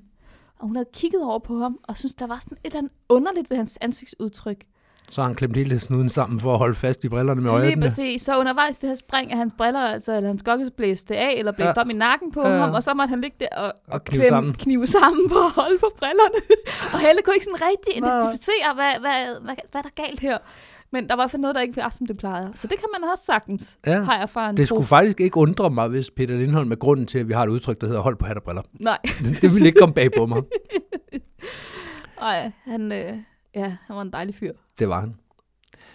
S2: Og hun havde kigget over på ham, og synes der var sådan et eller andet underligt ved hans ansigtsudtryk.
S3: Så har han klemt hele snuden sammen for at holde fast i brillerne med
S2: Lige
S3: øjnene.
S2: præcis. Så undervejs i det her spring af hans briller, altså, eller hans goggles blæste af, eller blæste
S3: Ja.
S2: ja. om i nakken på
S3: Ja, ja.
S2: ja. ham, og så måtte han ligge der og,
S3: Og knive sammen.
S2: knive sammen for at holde på brillerne. og Helle kunne ikke sådan rigtig
S3: Nej.
S2: identificere, hvad, hvad, hvad, hvad der er galt her. Men der var i hvert fald noget, der ikke var, som det plejer. Så det kan man også sagtens,
S3: Ja.
S2: ja. har jeg fra en
S3: Det skulle
S2: prof.
S3: faktisk ikke undre mig, hvis Peter Lindholm er grunden til, at vi har et udtryk, der hedder hold på hat og briller.
S2: Nej,
S3: Det ville ikke komme bag på mig.
S2: Ej, han, øh, ja, han var en dejlig fyr.
S3: Det var han.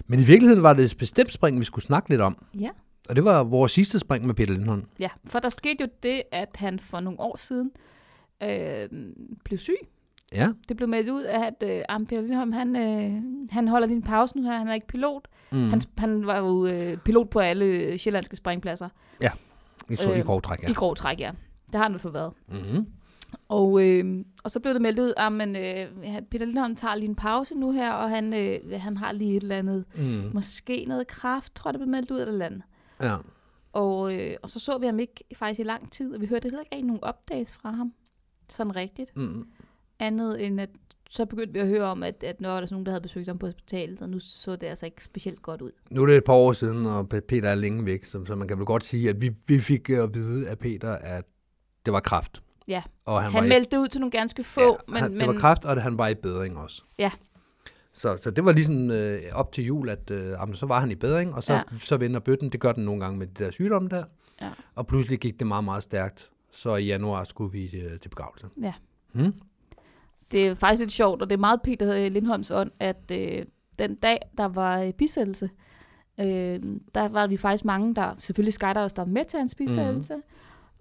S3: Men i virkeligheden var det et bestemt spring, vi skulle snakke lidt om.
S2: Ja.
S3: Og det var vores sidste spring med Peter Lindholm.
S2: Ja, for der skete jo det, at han for nogle år siden øh, blev syg.
S3: Ja,
S2: Det blev meldt ud, at øh, Arne Peter Lindholm, han, øh, han holder lige en pause nu her. Han er ikke pilot. Mm. Han, han var jo øh, pilot på alle øh, sjællandske springpladser.
S3: i, så, i
S2: Øh,
S3: grov træk, ja.
S2: Ja. I grov træk, ja. Det har han jo for været.
S3: Mm-hmm.
S2: Og, øh, og så blev det meldt ud, at øh, ja, Peter Lindholm tager lige en pause nu her, og han, øh, han har lige et eller andet,
S3: Mm.
S2: måske noget kraft, tror jeg, det blev meldt ud eller et eller andet.
S3: Ja.
S2: Og, øh, og så så vi ham ikke faktisk i lang tid, og vi hørte heller ikke rigtig nogen opdages fra ham. Sådan rigtigt.
S3: Mm.
S2: Andet end at så begyndte vi at høre om, at, at nu var der sådan nogen, der havde besøgt ham på hospitalet, og nu så det altså ikke specielt godt ud.
S3: Nu er det et par år siden, og Pe- Peter er længe væk, så, så man kan vel godt sige, at vi, vi fik at vide af Peter, at det var kraft.
S2: Ja.
S3: Og
S2: Han,
S3: var
S2: han
S3: i-
S2: meldte det ud til nogle ganske få, ja, men,
S3: han,
S2: men
S3: det var kræft, og det, han var i bedring også.
S2: Ja.
S3: Så, så det var ligesom øh, op til jul, at øh, jamen, så var han i bedring, og så, ja.
S2: Ja.
S3: så vender bøtten. Det gør den nogle gange med det der sygdom der.
S2: Ja.
S3: Og pludselig gik det meget, meget stærkt. Så i januar skulle vi øh, til begravelse.
S2: ja.
S3: Hmm?
S2: det er faktisk lidt sjovt, og det er meget Peter øh, Lindholms ånd, at øh, den dag, der var øh, bisættelse, øh, der var vi faktisk mange, der selvfølgelig skydivers, der var med til hans
S3: Mhm.
S2: bisættelse, mm.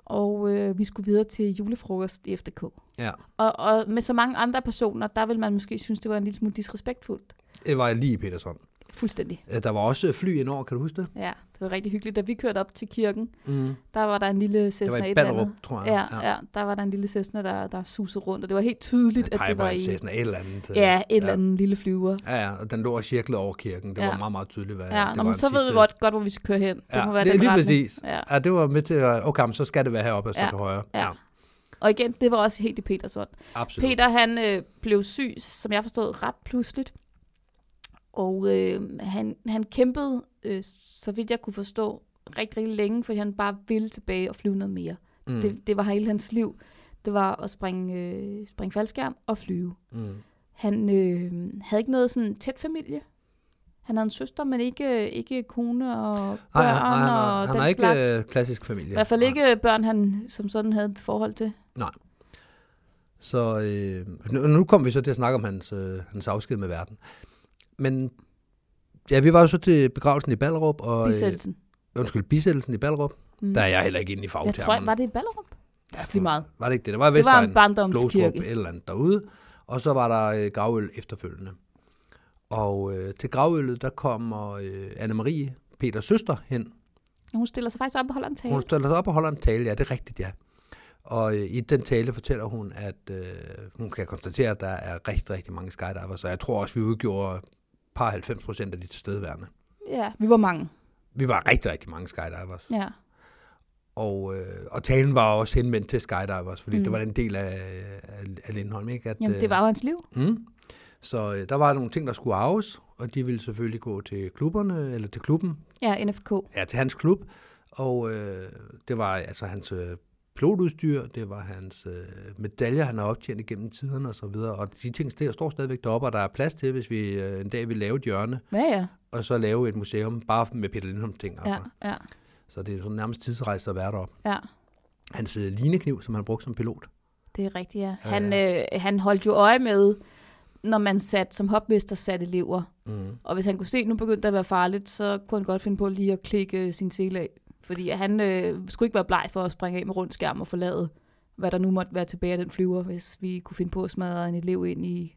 S2: og øh, vi skulle videre til julefrokost i FDK.
S3: Ja.
S2: Og, og med så mange andre personer, der vil man måske synes, det var en lille smule disrespektfuldt.
S3: Det var lige i Peterson.
S2: Fuldstændig.
S3: Øh, Der var også fly indover, kan du huske det?
S2: Ja, det var rigtig hyggeligt. Da vi kørte op til kirken,
S3: Mm.
S2: der var der en lille Cessna
S3: Det var i
S2: et eller
S3: Ballerup,
S2: andet.
S3: tror jeg.
S2: Ja, ja. ja, der var der en lille Cessna, der, der susede rundt, og det var helt tydeligt, at
S3: Peger
S2: det
S3: på
S2: var
S3: en
S2: i...
S3: Cessna, et eller andet. øh,
S2: Ja, et eller
S3: ja.
S2: andet lille flyver.
S3: Ja, ja, og den lå og cirklede over kirken. Det ja.
S2: Ja.
S3: var meget, meget tydeligt, hvad
S2: Ja,
S3: det
S2: nå,
S3: var.
S2: men så
S3: den
S2: ved vi
S3: sidste-
S2: godt, godt, hvor vi skal køre hen. Det
S3: Ja,
S2: må være
S3: det,
S2: den
S3: lige
S2: retning.
S3: præcis.
S2: Ja.
S3: Ja, det var med til, at- okay, men så skal det være heroppe, og så
S2: Ja,
S3: til højre.
S2: ja. Og igen, det var også helt i Peterson.
S3: absolut.
S2: Peter, han øh, blev syg, som jeg forstod, ret pludseligt. Og øh, han, han kæmpede, øh, så vidt jeg kunne forstå, rigtig, rigtig længe, fordi han bare ville tilbage og flyve noget mere. Mm. Det, det var hele hans liv. Det var at springe, øh, springe faldskærm og flyve.
S3: Mm.
S2: Han øh, havde ikke noget sådan tæt familie. Han havde en søster, men ikke, ikke kone og børn
S3: Nej, han, han, han,
S2: og
S3: er- han
S2: den
S3: er ikke
S2: slags.
S3: øh, klassisk familie.
S2: I hvert fald ikke børn, han som sådan havde et forhold til.
S3: Så øh, nu, nu kom vi så til at snakke om hans, øh, hans afsked med verden. Men ja, vi var jo så til begravelsen i Ballerup. Og,
S2: Bisættelsen.
S3: Øh, undskyld, bisættelsen i Ballerup. Mm. Der er jeg heller ikke inde i
S2: Jeg tror,
S3: fagtermerne.
S2: var det i Ballerup? Det er også lige meget.
S3: Var det ikke det? Der var
S2: Det var en
S3: Vestegn, Glostrup,
S2: barndomskirke.
S3: et eller andet derude. Og så var der øh, gravøl efterfølgende. Og øh, til gravøllet, der kommer øh, Anne-Marie, Peters søster, hen.
S2: Hun stiller sig faktisk op og holder en tale.
S3: Hun stiller sig op og holder en tale. Ja, det er rigtigt, ja. Og øh, i den tale fortæller hun, at øh, hun kan konstatere, at der er rigtig, rigtig mange skydivers. Og jeg tror også, vi udgjorde par 90 procent af de tilstedeværende.
S2: Ja, vi var mange.
S3: Vi var rigtig, rigtig mange skydivers.
S2: Ja.
S3: Og, øh, og talen var også henvendt til skydivers, fordi mm. det var en del af, af, af Lindholm, ikke? At,
S2: Jamen, det
S3: øh,
S2: var jo hans liv.
S3: Mm. Så øh, der var nogle ting, der skulle arves, og de ville selvfølgelig gå til klubberne, eller til klubben,
S2: Ja, NFK.
S3: ja, til hans klub. Og øh, det var altså hans øh, pilotudstyr, det var hans øh, medaljer, han har optjent igennem tiderne osv. Og de ting der står stadigvæk deroppe, og der er plads til, hvis vi øh, en dag vil lave et hjørne,
S2: Ja, ja.
S3: og så lave et museum, bare med Peter Lindholm ting.
S2: Ja,
S3: Altså.
S2: ja,
S3: Så det er sådan nærmest tidsrejse at være deroppe.
S2: ja.
S3: Hans øh, linekniv, som han brugte som pilot.
S2: Det er rigtigt, ja. Han, øh, han holdt jo øje med, når man sat, som hopmester satte elever.
S3: Mm.
S2: Og hvis han kunne se, at nu begyndte det at være farligt, så kunne han godt finde på lige at klikke øh, sin sele af. Fordi han øh, skulle ikke være bleg for at springe af med rundt skærm og forlade, hvad der nu måtte være tilbage af den flyver, hvis vi kunne finde på at smadre en elev ind i,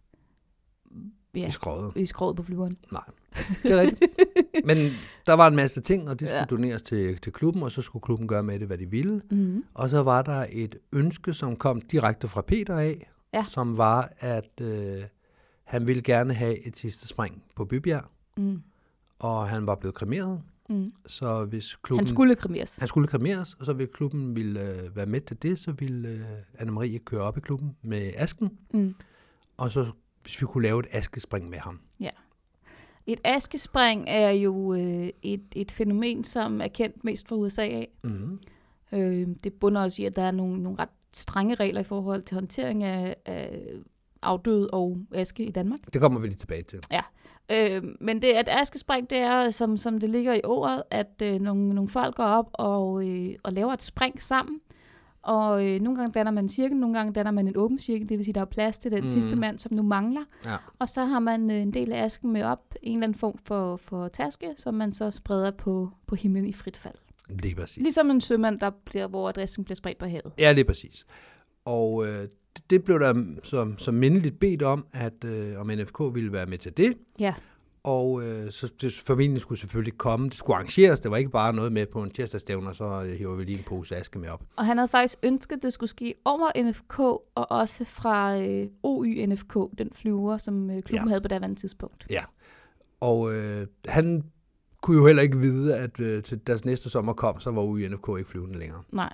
S3: Ja.
S2: ja,
S3: I skrådet.
S2: i skroget på flyveren.
S3: Nej, det er rigtigt. Men der var en masse ting, og det skulle
S2: Ja.
S3: ja. doneres til, til klubben, og så skulle klubben gøre med det, hvad de ville.
S2: Mm-hmm.
S3: Og så var der et ønske, som kom direkte fra Peter af,
S2: Ja.
S3: som var, at øh, han ville gerne have et sidste spring på Bybjerg,
S2: Mm.
S3: og han var blevet kremeret.
S2: Mm.
S3: Så hvis klubben,
S2: Han skulle kremeres.
S3: han skulle kremeres, og så ville klubben ville, øh, være med til det, så ville øh, Anne-Marie køre op i klubben med asken,
S2: Mm.
S3: og så hvis vi kunne lave et askespring med ham.
S2: Et askespring er jo øh, et, et fænomen, som er kendt mest fra USA af.
S3: Mm-hmm.
S2: Øh, det bunder også i, at der er nogle, nogle ret strenge regler i forhold til håndtering af, af afdøde og aske i Danmark.
S3: Det kommer vi lige tilbage til.
S2: Øh, men det at askespring, det er, som, som det ligger i ordet, at øh, nogle, nogle folk går op og, øh, og laver et spring sammen. Og øh, nogle gange danner man en cirkel, nogle gange danner man en åben cirkel, det vil sige, der er plads til den mm.
S3: Mhm.
S2: sidste mand, som nu mangler.
S3: Ja.
S2: Og så har man øh, en del af asken med op, en eller anden form for, for taske, som man så spreder på, på himlen i frit fald.
S3: Lige præcis.
S2: Ligesom en sømand, der bliver, hvor adressen bliver spredt på havet.
S3: Ja, lige præcis. Og øh, det- det blev der som, som mindeligt bedt om, at øh, om NFK ville være med til det.
S2: Ja.
S3: Og øh, så det familien skulle selvfølgelig komme. Det skulle arrangeres. Det var ikke bare noget med på en tirsdagsstævne, og så øh, hiver vi lige en pose aske med op.
S2: Og han havde faktisk ønsket, at det skulle ske over NFK, og også fra øh, OY-NFK, den flyver, som øh, klubben ja.
S3: Ja.
S2: havde på daværende tidspunkt.
S3: Og øh, han kunne jo heller ikke vide, at øh, til deres næste sommer kom, så var ude i NFK ikke flyvende længere.
S2: Nej.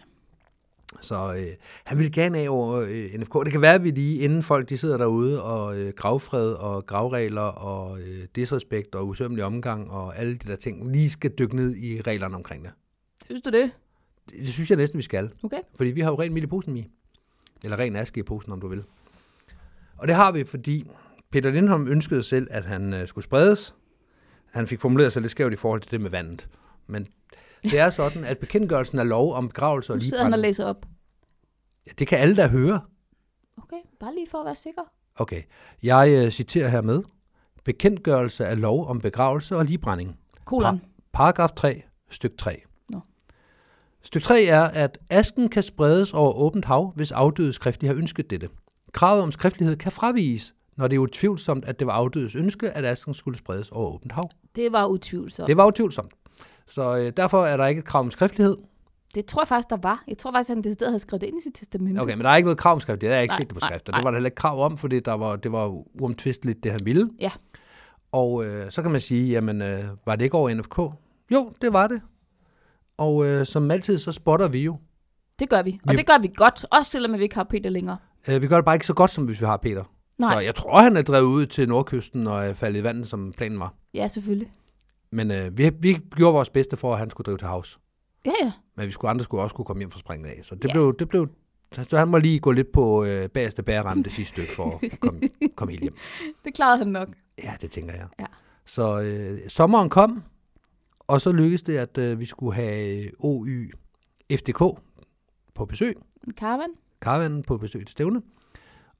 S3: Så øh, han ville gerne af over øh, NFK. Det kan være, at vi lige, inden folk de sidder derude, og øh, gravfred og gravregler og øh, disrespekt og usømmelig omgang og alle de der ting, lige skal dykke ned i reglerne omkring det.
S2: Synes du det?
S3: Det, det synes jeg næsten, vi skal.
S2: Okay.
S3: Fordi vi har jo ren mild i posen, Mi. Eller ren aske i posen, om du vil. Og det har vi, fordi Peter Lindholm ønskede selv, at han øh, skulle spredes. Han fik formuleret sig lidt skævt i forhold til det med vandet. Men det er sådan, at bekendtgørelsen af lov om begravelse og
S2: Nu sidder han og
S3: ligebrænding,
S2: læser op.
S3: ja, det kan alle, der høre.
S2: Okay, bare lige for at være sikker.
S3: Okay. Jeg øh, citerer hermed. Bekendtgørelse af lov om begravelse og ligebrænding.
S2: Kolon.
S3: Paragraf 3, styk 3.
S2: Nå.
S3: Styk 3 er, at asken kan spredes over åbent hav, hvis afdøde skriftligt har ønsket dette. Kravet om skriftlighed kan fraviges, når det er utvivlsomt, at det var afdødes ønske, at asken skulle spredes over åbent hav.
S2: Det var utvivlsomt. Det...
S3: Det var utvivlsomt. Så øh, derfor er der ikke et krav om skriftlighed.
S2: det tror jeg faktisk, der var. Jeg tror faktisk, han decideret havde skrevet det ind i sit testamente.
S3: Okay, men der er ikke noget krav om skrift. Det har jeg ikke
S2: Nej,
S3: nej, set det på
S2: nej,
S3: skrift, og
S2: nej.
S3: det var der heller ikke krav om, fordi der var, det var uomtvisteligt, det han ville.
S2: Ja.
S3: Og øh, så kan man sige, jamen, øh, var det ikke over NFK? Jo, det var det. Og øh, som altid, så spotter vi jo.
S2: Det gør vi. Og
S3: Vi-
S2: det gør vi godt, også selvom vi ikke har Peter længere.
S3: Øh, vi gør det bare ikke så godt, som hvis vi har Peter.
S2: Nej.
S3: Så jeg tror, han er drevet ud til nordkysten og er faldet i vandet, som planen var.
S2: Ja, selvfølgelig.
S3: Men øh, vi, vi gjorde vores bedste for, at han skulle drive til havs.
S2: Ja, ja.
S3: Men vi skulle andre skulle også kunne komme hjem fra springet af. Så det,
S2: Ja.
S3: ja. blev, det blev... Så han må lige gå lidt på øh, bagerste bæreramme det sidste stykke for at komme, komme helt hjem.
S2: Det klarede han nok.
S3: Ja, det tænker jeg.
S2: Ja.
S3: Så øh, sommeren kom, og så lykkedes det, at øh, vi skulle have øh, OY FDK på besøg,
S2: Karavan?
S3: karavanen på besøg til stævne.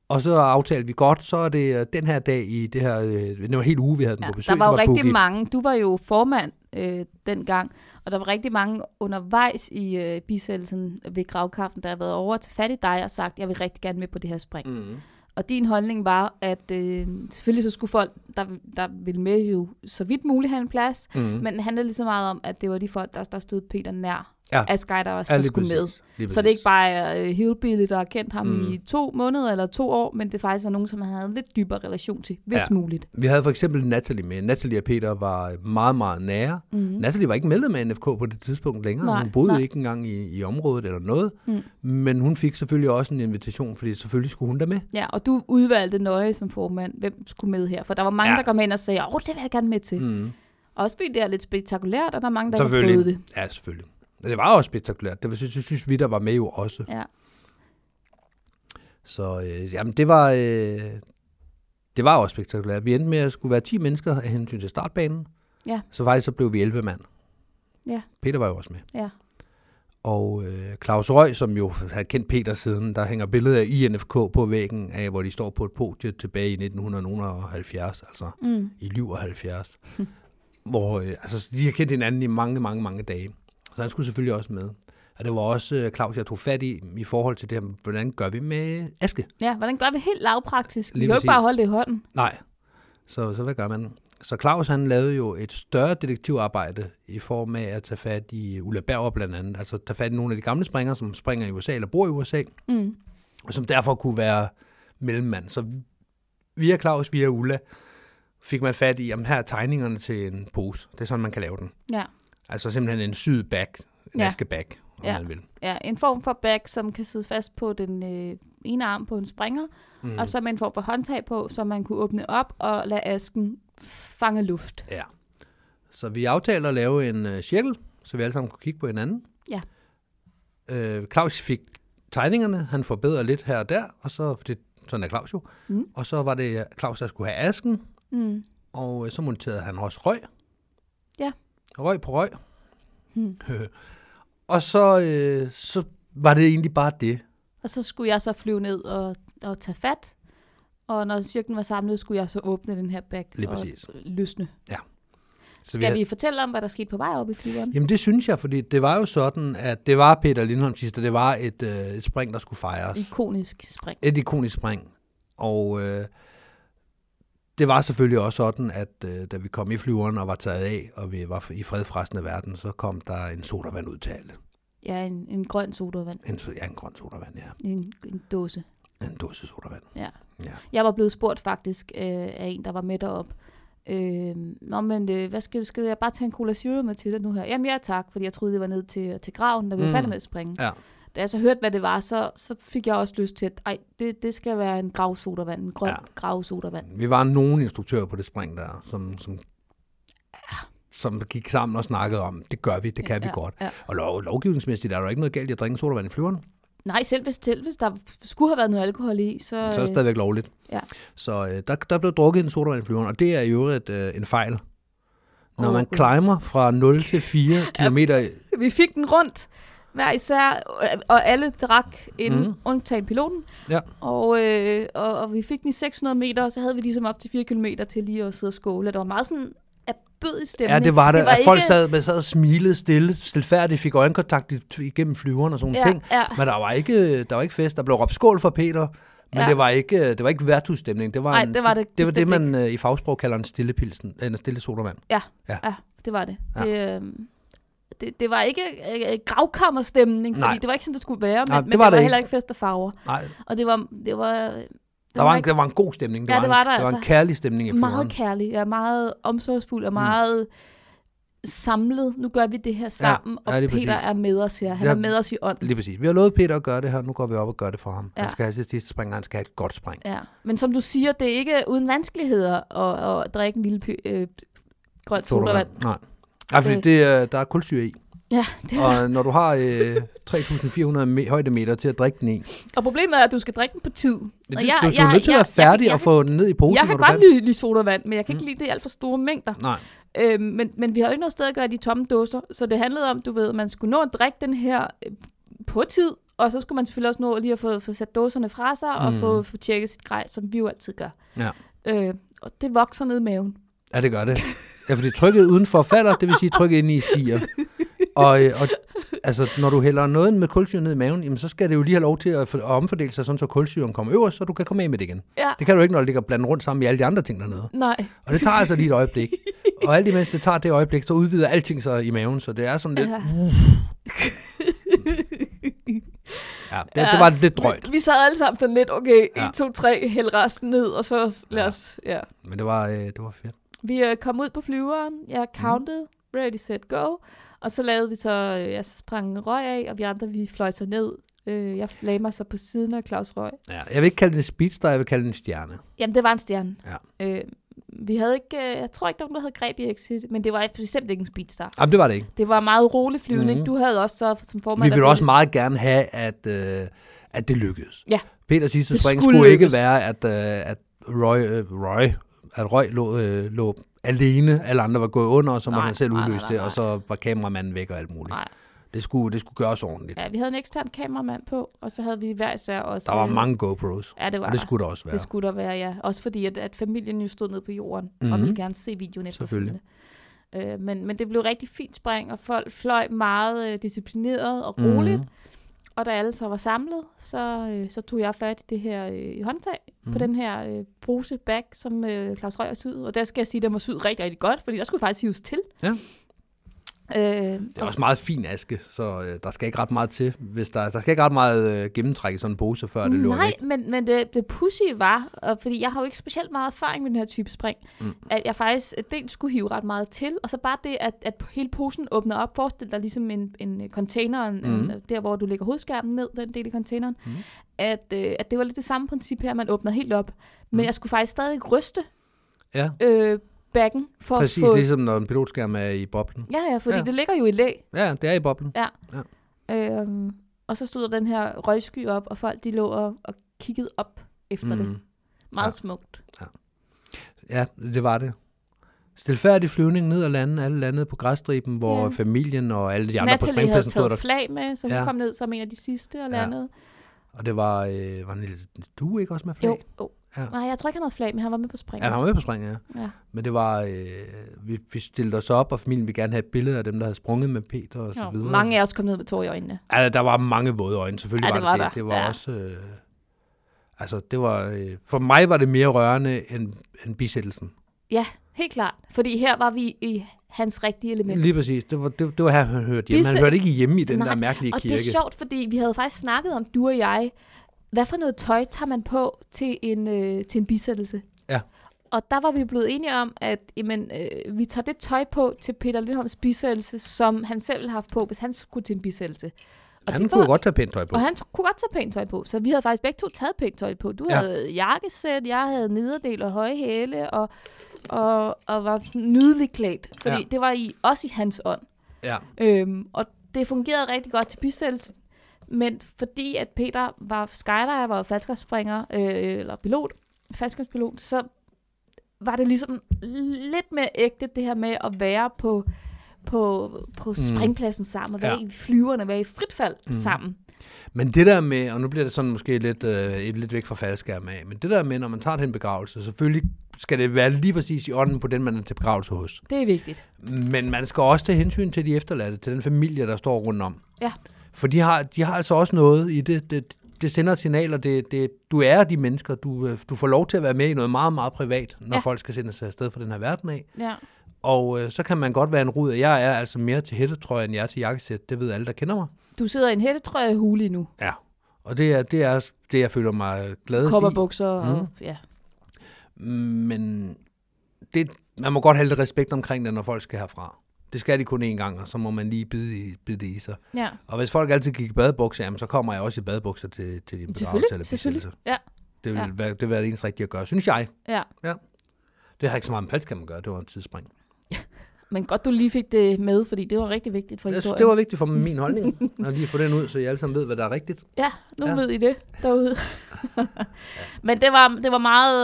S3: Og så aftalte vi godt, så er det øh, den her dag i det her, øh, det var en hel uge, vi havde den
S2: Ja,
S3: på besøg.
S2: der var jo
S3: det
S2: rigtig
S3: booket.
S2: mange. Du var jo formand øh, dengang. Og der var rigtig mange undervejs i øh, bisættelsen ved gravkraften, der har været over til fat i dig og sagt, jeg vil rigtig gerne med på det her spring. Mm.
S3: Mm.
S2: Og din holdning var, at øh, selvfølgelig så skulle folk, der, der ville med jo så vidt muligt have en plads,
S3: Mhm.
S2: mm. men det handlede lige så meget om, at det var de folk, der, der stod Peter nær.
S3: Ja.
S2: Af Sky, der, også, der skulle med. Så det er ikke bare er øh, Hillbilly, der har kendt ham
S3: Mm.
S2: mm. i to måneder eller to år, men det faktisk var nogen, som han havde en lidt dybere relation til, hvis
S3: Ja.
S2: ja. muligt.
S3: Vi havde for eksempel Natalie med. Natalie og Peter var meget, meget nære. Mm. Natalie var ikke medlem af NFK på det tidspunkt længere.
S2: Mhm. Nej,
S3: hun boede
S2: nej.
S3: ikke engang i, i området eller noget. Mm. Men hun fik selvfølgelig også en invitation, fordi selvfølgelig skulle hun da med.
S2: Ja, og du udvalgte nøje som formand, hvem skulle med her. For der var mange,
S3: Ja.
S2: ja. der kom ind og sagde, åh, det vil jeg gerne med til. Mm. Også fordi det er lidt spektakulært, og der er mange, der ikke har prøvet det.
S3: Ja, selvfølgelig. Men det var også spektakulært. Det, var, det synes vi, der var med jo også.
S2: Ja.
S3: Så øh, jamen, det var... Øh, det var også spektakulært. Vi endte med at skulle være 10 mennesker af hensyn til startbanen.
S2: Ja.
S3: Så faktisk så blev vi 11 mand.
S2: Ja.
S3: Peter var jo også med.
S2: Ja.
S3: Og øh, Claus Røg, som jo havde kendt Peter siden, der hænger billeder af INFK på væggen af, hvor de står på et podie tilbage i 1970, altså
S2: Mm.
S3: i liv og 70. hvor øh, altså, de har kendt hinanden i mange, mange, mange dage. Så han skulle selvfølgelig også med. Og det var også øh, Claus, jeg tog fat i, i forhold til det her, hvordan gør vi med aske?
S2: ja, hvordan gør vi helt lavpraktisk? Vi
S3: Lige
S2: kan jo ikke
S3: præcis.
S2: bare holde det i hånden.
S3: Nej. Så, så hvad gør man? Så Claus han lavede jo et større detektivarbejde i form af at tage fat i Ulla Berger blandt andet. Altså tage fat i nogle af de gamle springere, som springer i USA eller bor i USA,
S2: Mm.
S3: og som derfor kunne være mellemmand. Så via Claus, via Ulla, fik man fat i, om her er tegningerne til en pose. Det er sådan, man kan lave den.
S2: Ja.
S3: Altså simpelthen en syet bag, en ja.
S2: Ja.
S3: askebag, om ja.
S2: Ja.
S3: man vil.
S2: ja, en form for bag, som kan sidde fast på den øh, ene arm på en springer, mm. og så med en form for håndtag på, så man kunne åbne op og lade asken fange luft.
S3: Ja. Så vi aftalte at lave en øh, cirkel, så vi alle sammen kunne kigge på hinanden.
S2: Ja.
S3: Øh, Claus fik tegningerne, han forbedrede lidt her og der, og så, for det, sådan er Claus jo, mm. og så var det øh, Claus, der skulle have asken,
S2: Mm.
S3: og øh, så monterede han også røg.
S2: Ja.
S3: Røg på røg. Hmm. og så, øh, så var det egentlig bare det.
S2: Og så skulle jeg så flyve ned og, og tage fat, og når cirklen var samlet, skulle jeg så åbne den her bag
S3: Lige
S2: og
S3: præcis.
S2: løsne.
S3: Så
S2: Skal vi fortælle om, hvad der skete på vej op i flyveren?
S3: Jamen det synes jeg, fordi det var jo sådan, at det var Peter Lindholm sidste, det var et, øh, et spring, der skulle
S2: Mm.
S3: fejres.
S2: Ikonisk spring.
S3: et ikonisk spring. Og øh, det var selvfølgelig også sådan, at øh, da vi kom i flyveren og var taget af, og vi var i fred fra resten af verden, så kom der en sodavand ud til alle.
S2: Ja, en, en grøn sodavand.
S3: En, so- ja, en grøn sodavand, ja.
S2: En, en dåse.
S3: En dåse sodavand.
S2: Ja.
S3: Ja.
S2: Jeg var blevet spurgt faktisk øh, af en, der var med derop. Øh, Nå, men øh, hvad skal, skal jeg bare tage en Cola Zero med til det nu her? Jamen ja, tak, fordi jeg troede, det var ned til, til graven, da vi
S3: Mm.
S2: mm. faldt med at springe.
S3: Ja.
S2: Da jeg så hørte, hvad det var, så, så fik jeg også lyst til, at ej, det, det skal være en gravsodavand, en grøn
S3: Ja.
S2: ja. gravsodavand.
S3: Vi var nogle instruktører på det spring der, som, som, som gik sammen og snakkede om, det gør vi, det kan vi
S2: Ja,
S3: godt.
S2: ja.
S3: Og lov, lovgivningsmæssigt er der jo ikke noget galt i at drikke sodavand i flyveren.
S2: Nej, selv hvis, selv hvis der skulle have været noget alkohol i, så...
S3: Så er det
S2: øh,
S3: stadigvæk lovligt.
S2: Ja.
S3: Så øh, der, der blev drukket en sodavand i flyveren, og det er i øvrigt øh, en fejl. Når
S2: Åh,
S3: man
S2: Gud.
S3: climber fra 0 til 4 km,
S2: Vi fik den rundt, hver især, og- og alle drak inden,
S3: Mm.
S2: mm. undtagen piloten.
S3: Ja.
S2: Og, øh, og, og vi fik den i 600 meter, og så havde vi ligesom op til 4 km til lige at sidde og skåle. Der var meget sådan abødig stemning.
S3: ja, det var det, det var at folk
S2: ikke-
S3: sad, man sad og smilede stille, stilfærdigt, fik øjenkontakt i- igennem flyveren og sådan nogle
S2: Ja,
S3: ting.
S2: ja.
S3: Men der var, ikke, der var ikke fest. Der blev råbt skål for Peter, men
S2: Ja.
S3: det var ikke, det var ikke værtshusstemning. Det var,
S2: Nej,
S3: en,
S2: det var det
S3: det, var det
S2: bestemt
S3: man øh, i fagsprog kalder en stille, pilsen, øh, en stille sodavand.
S2: Ja,
S3: Ja.
S2: ja. ja det var det.
S3: Ja.
S2: Ja. Det, øh, det, det var ikke øh, gravkammerstemning, fordi
S3: Nej.
S2: det var ikke sådan, det skulle være, men,
S3: Nej,
S2: Nej,
S3: det
S2: det, men
S3: var
S2: var det
S3: det
S2: var
S3: ikke.
S2: heller ikke fest og farver.
S3: Nej,
S2: Og det var... Det var det
S3: der var, en, der var en god stemning. Det
S2: Ja,
S3: var
S2: det
S3: en,
S2: var der
S3: det var en
S2: altså.
S3: kærlig stemning i flyveren.
S2: meget kærlig, ja, meget omsorgsfuld og meget samlet. Nu gør vi det her sammen,
S3: ja,
S2: og
S3: lige
S2: Peter
S3: præcis.
S2: er med os her. Han
S3: Ja.
S2: er med os i ånden.
S3: Lige præcis. Vi har lovet Peter at gøre det her, nu går vi op og gør det for ham. Ja. Han
S2: Ja.
S3: skal have sit sidste spring, og han skal have et godt spring.
S2: Ja. Men som du siger, det er ikke uden vanskeligheder at, at drikke en lille py, øh, grøn sodavand.
S3: Nej. Nej, fordi
S2: Øh.
S3: det, er- der er kulsyre i.
S2: Ja, det er.
S3: Og når du har øh, 3.400 me- højdemeter til at drikke den i,
S2: Og problemet er, at du skal drikke den på tid.
S3: det,
S2: Og
S3: du, du, du er nødt til at være færdig
S2: jeg,
S3: og få den ned i posen.
S2: Jeg, jeg kan
S3: når du Mm.
S2: godt
S3: er
S2: lide, lide sodavand, men jeg kan ikke lide det i alt for store mængder.
S3: færdig. Nej,
S2: Øh, men, men vi har jo ikke noget sted at gøre de tomme dåser, så det handlede om, du ved, man skulle nå at drikke den her øh, på tid, og så skulle man selvfølgelig også nå lige at få, få sat dåserne fra sig mm. og
S3: Mm.
S2: få, få tjekket sit grej, som vi jo altid gør.
S3: Ja.
S2: Øh, og det vokser ned i maven.
S3: ja, det gør det. Ja, fordi trykket udenfor falder, det vil sige, at trykket inde i stiger. Og, øh, og altså, når du hælder noget med kulsyre ned i maven, jamen, så skal det jo lige have lov til at, for- at omfordele sig, sådan så kulsyren kommer øverst, så du kan komme af med det igen.
S2: Ja.
S3: Det kan du ikke, når det ligger blandet rundt sammen med alle de andre ting dernede.
S2: Nej.
S3: Og det tager altså lige et øjeblik. Og alt imens det tager det øjeblik, så udvider alting sig i maven, så det er sådan lidt...
S2: Ja.
S3: Ja, det, det var lidt drøjt,
S2: Vi, vi sad alle sammen sådan lidt, okay,
S3: Ja.
S2: 1, 2, 3, hæld resten ned, og så lad
S3: Ja.
S2: os, ja.
S3: men det var, øh, det var fedt.
S2: Vi øh, kom ud på flyveren, jeg
S3: Mhm.
S2: counted, mm. ready, set, go, og så lavede vi så, øh, jeg sprang røg af, og vi andre, vi fløj så ned. Øh, jeg lagde mig så på siden af Claus Røg.
S3: Ja, jeg vil ikke kalde det en speedster, jeg vil kalde det en stjerne.
S2: Jamen, det var en stjerne.
S3: Ja.
S2: Øh, vi havde ikke, øh, jeg tror ikke, der var nogen, der havde greb i exit, men det var bestemt ikke en speedstar.
S3: Jamen, det var det ikke.
S2: Det var meget rolig flyvning.
S3: Mhm.
S2: Mm. Du havde også så som formand...
S3: Vi vil
S2: at-
S3: også meget gerne have, at, øh, at det lykkedes.
S2: Ja.
S3: Peters sidste
S2: Det
S3: spring
S2: skulle
S3: skulle, skulle ikke
S2: lykkes.
S3: være, at, øh, at Roy, øh, Roy, at Roy lå, øh, lå alene, alle andre var gået under, og så måtte
S2: Nej,
S3: han selv
S2: nej, nej,
S3: udløse det,
S2: nej.
S3: og så var kameramanden væk og alt muligt.
S2: Nej.
S3: Det skulle, det skulle gøres ordentligt.
S2: Ja, vi havde en ekstern kameramand på, og så havde vi hver især også...
S3: Der var
S2: øh,
S3: mange GoPros,
S2: Ja, det var
S3: og det skulle der også
S2: der.
S3: være.
S2: Det skulle der være, ja. Også fordi, at, at familien jo stod nede på jorden, mm-hmm. og
S3: Mhm.
S2: ville gerne se videoen
S3: Selvfølgelig.
S2: efterfølgende. Øh, men, men det blev rigtig fint spring, og folk fløj meget øh, disciplineret og roligt.
S3: Mhm.
S2: Mm-hmm. Og da alle så var samlet, så, øh, så tog jeg fat i det her øh, håndtag mm-hmm. på
S3: Mhm.
S2: den her øh, bruse bag, som øh, Claus Røger syd. Og der skal jeg sige, at den var syd rigtig, rigtig godt, fordi der skulle faktisk hives til.
S3: Ja.
S2: Øh,
S3: Det er også meget fin aske, så øh, der skal ikke ret meget til. Hvis der, der skal ikke ret meget øh, gennemtræk i sådan en pose, før det løber
S2: Mm, Nej,
S3: væk.
S2: men, men det, det pussy var, og fordi jeg har jo ikke specielt meget erfaring med den her type spring,
S3: Mm.
S2: mm. at jeg faktisk øh, dels skulle hive ret meget til, og så bare det, at, at hele posen åbner op, forestil dig ligesom en, en øh, containeren, mm. en, øh, der hvor du lægger hovedskærmen ned, den del af containeren,
S3: Mm.
S2: mm. at, øh, at det var lidt det samme princip her, man åbner helt op, men
S3: Mm.
S2: mm. jeg skulle faktisk stadig ryste
S3: Ja,
S2: øh, backen for
S3: præcis
S2: at få...
S3: ligesom når en pilotskærm er i boblen.
S2: Ja, ja, fordi
S3: Ja.
S2: ja. det ligger jo i læ.
S3: Ja, det er i boblen.
S2: Øh, og så stod der den her røgsky op, og folk de lå og, og kiggede op efter mm. det. Meget
S3: Ja.
S2: ja. smukt.
S3: Ja, det var det. Stilfærdig flyvning ned ad landet, alle landede på græsstriben, hvor
S2: Ja.
S3: familien og alle de andre på
S2: Natalie havde
S3: springpladsen stod
S2: taget
S3: der.
S2: flag med, så hun
S3: Ja.
S2: ja. kom ned som en af de sidste og
S3: Ja.
S2: landede.
S3: Og det var, øh, var en lille du ikke også med
S2: Jo,
S3: flag?
S2: jo.
S3: Ja.
S2: Ja. Nej, jeg tror ikke, han havde flag, men han var med på spring.
S3: Ja, han var med på springet, ja.
S2: Ja.
S3: Men det var, øh, vi, vi stillede os op, og familien ville gerne have et billede af dem, der havde sprunget med Peter og så
S2: Jo.
S3: videre.
S2: Mange af os kom ned med tår i øjnene.
S3: Altså, der var mange våde øjne, selvfølgelig
S2: Ja,
S3: var
S2: det
S3: det
S2: var
S3: det.
S2: der.
S3: Det var
S2: Ja.
S3: også... Øh, altså, det var... Øh, for mig var det mere rørende end, end bisættelsen.
S2: Ja, helt klart. Fordi her var vi i hans rigtige element.
S3: Lige præcis. Det var, det, det var her, han hørte hjemme. Han
S2: Bisæt-
S3: hørte ikke hjemme i den
S2: Nej,
S3: der mærkelige
S2: og
S3: kirke.
S2: det er sjovt, fordi vi havde faktisk snakket om, du og jeg, hvad for noget tøj tager man på til en, øh, til en bisættelse?
S3: Ja.
S2: Og der var vi blevet enige om, at jamen, øh, vi tager det tøj på til Peter Lindholms bisættelse, som han selv ville have haft på, hvis han skulle til en bisættelse. Og
S3: han
S2: det
S3: kunne
S2: var-
S3: godt tage pænt tøj på.
S2: Og han t- kunne godt tage pænt tøj på, så vi havde faktisk begge to taget pænt tøj på. Du
S3: Ja.
S2: ja. havde jakkesæt, jeg havde nederdel og høje hæle, og, og, og var sådan nydelig klædt, fordi
S3: Ja.
S2: ja. det var i, også i hans ånd.
S3: Ja.
S2: Øhm, og det fungerede rigtig godt til bisættelsen. Men fordi at Peter var skydiver, var faldskabsspringer, øh, eller pilot, faldskabspilot, så var det ligesom lidt mere ægte det her med at være på, på, på springpladsen sammen, og være
S3: Mm. Ja.
S2: ja. i flyverne, være i frit fald mm. sammen.
S3: Men det der med, og nu bliver det sådan måske lidt, øh, et lidt væk fra faldskærm af, men det der med, når man tager til en begravelse, selvfølgelig skal det være lige præcis i ånden på den, man er til begravelse hos.
S2: Det er vigtigt.
S3: Men man skal også tage hensyn til de efterladte, til den familie, der står rundt om.
S2: Ja.
S3: For de har, de har altså også noget i det. Det, det sender et signal, og det, det, du er de mennesker. Du, øh, du får lov til at være med i noget meget, meget privat, når ja.
S2: Ja.
S3: folk skal sendes afsted fra den her verden af.
S2: Ja.
S3: Og øh, så kan man godt være en rud. Jeg er altså mere til hættetrøje, end jeg er til jakkesæt. Det ved alle, der kender mig.
S2: Du sidder i en hættetrøje og hule nu.
S3: Ja, og det er det, er det jeg føler mig gladest i.
S2: Kopperbukser mm. og... Ja.
S3: Men det, man må godt have lidt respekt omkring det, når folk skal herfra. Det skal de kun én gang, og så må man lige bide, i, bide det i sig.
S2: ja.
S3: Og hvis folk altid gik i badebukser, jamen, så kommer jeg også i badebukser til, til din begravelse eller
S2: Selvfølgelig,
S3: besættelse.
S2: selvfølgelig. Ja.
S3: Det vil,
S2: Ja.
S3: være, det vil være det eneste rigtige at gøre, synes jeg.
S2: ja.
S3: Det har ikke så meget med falsk, kan man gøre. Det var en tidsspring.
S2: Men godt, du lige fik det med, fordi det var rigtig vigtigt for
S3: Jeg synes,
S2: historien.
S3: det var vigtigt for min holdning, at lige få den ud, så I alle sammen ved, hvad der er rigtigt.
S2: Ja, nu
S3: Ja.
S2: ja. ved I det derude. Men det var, det var meget,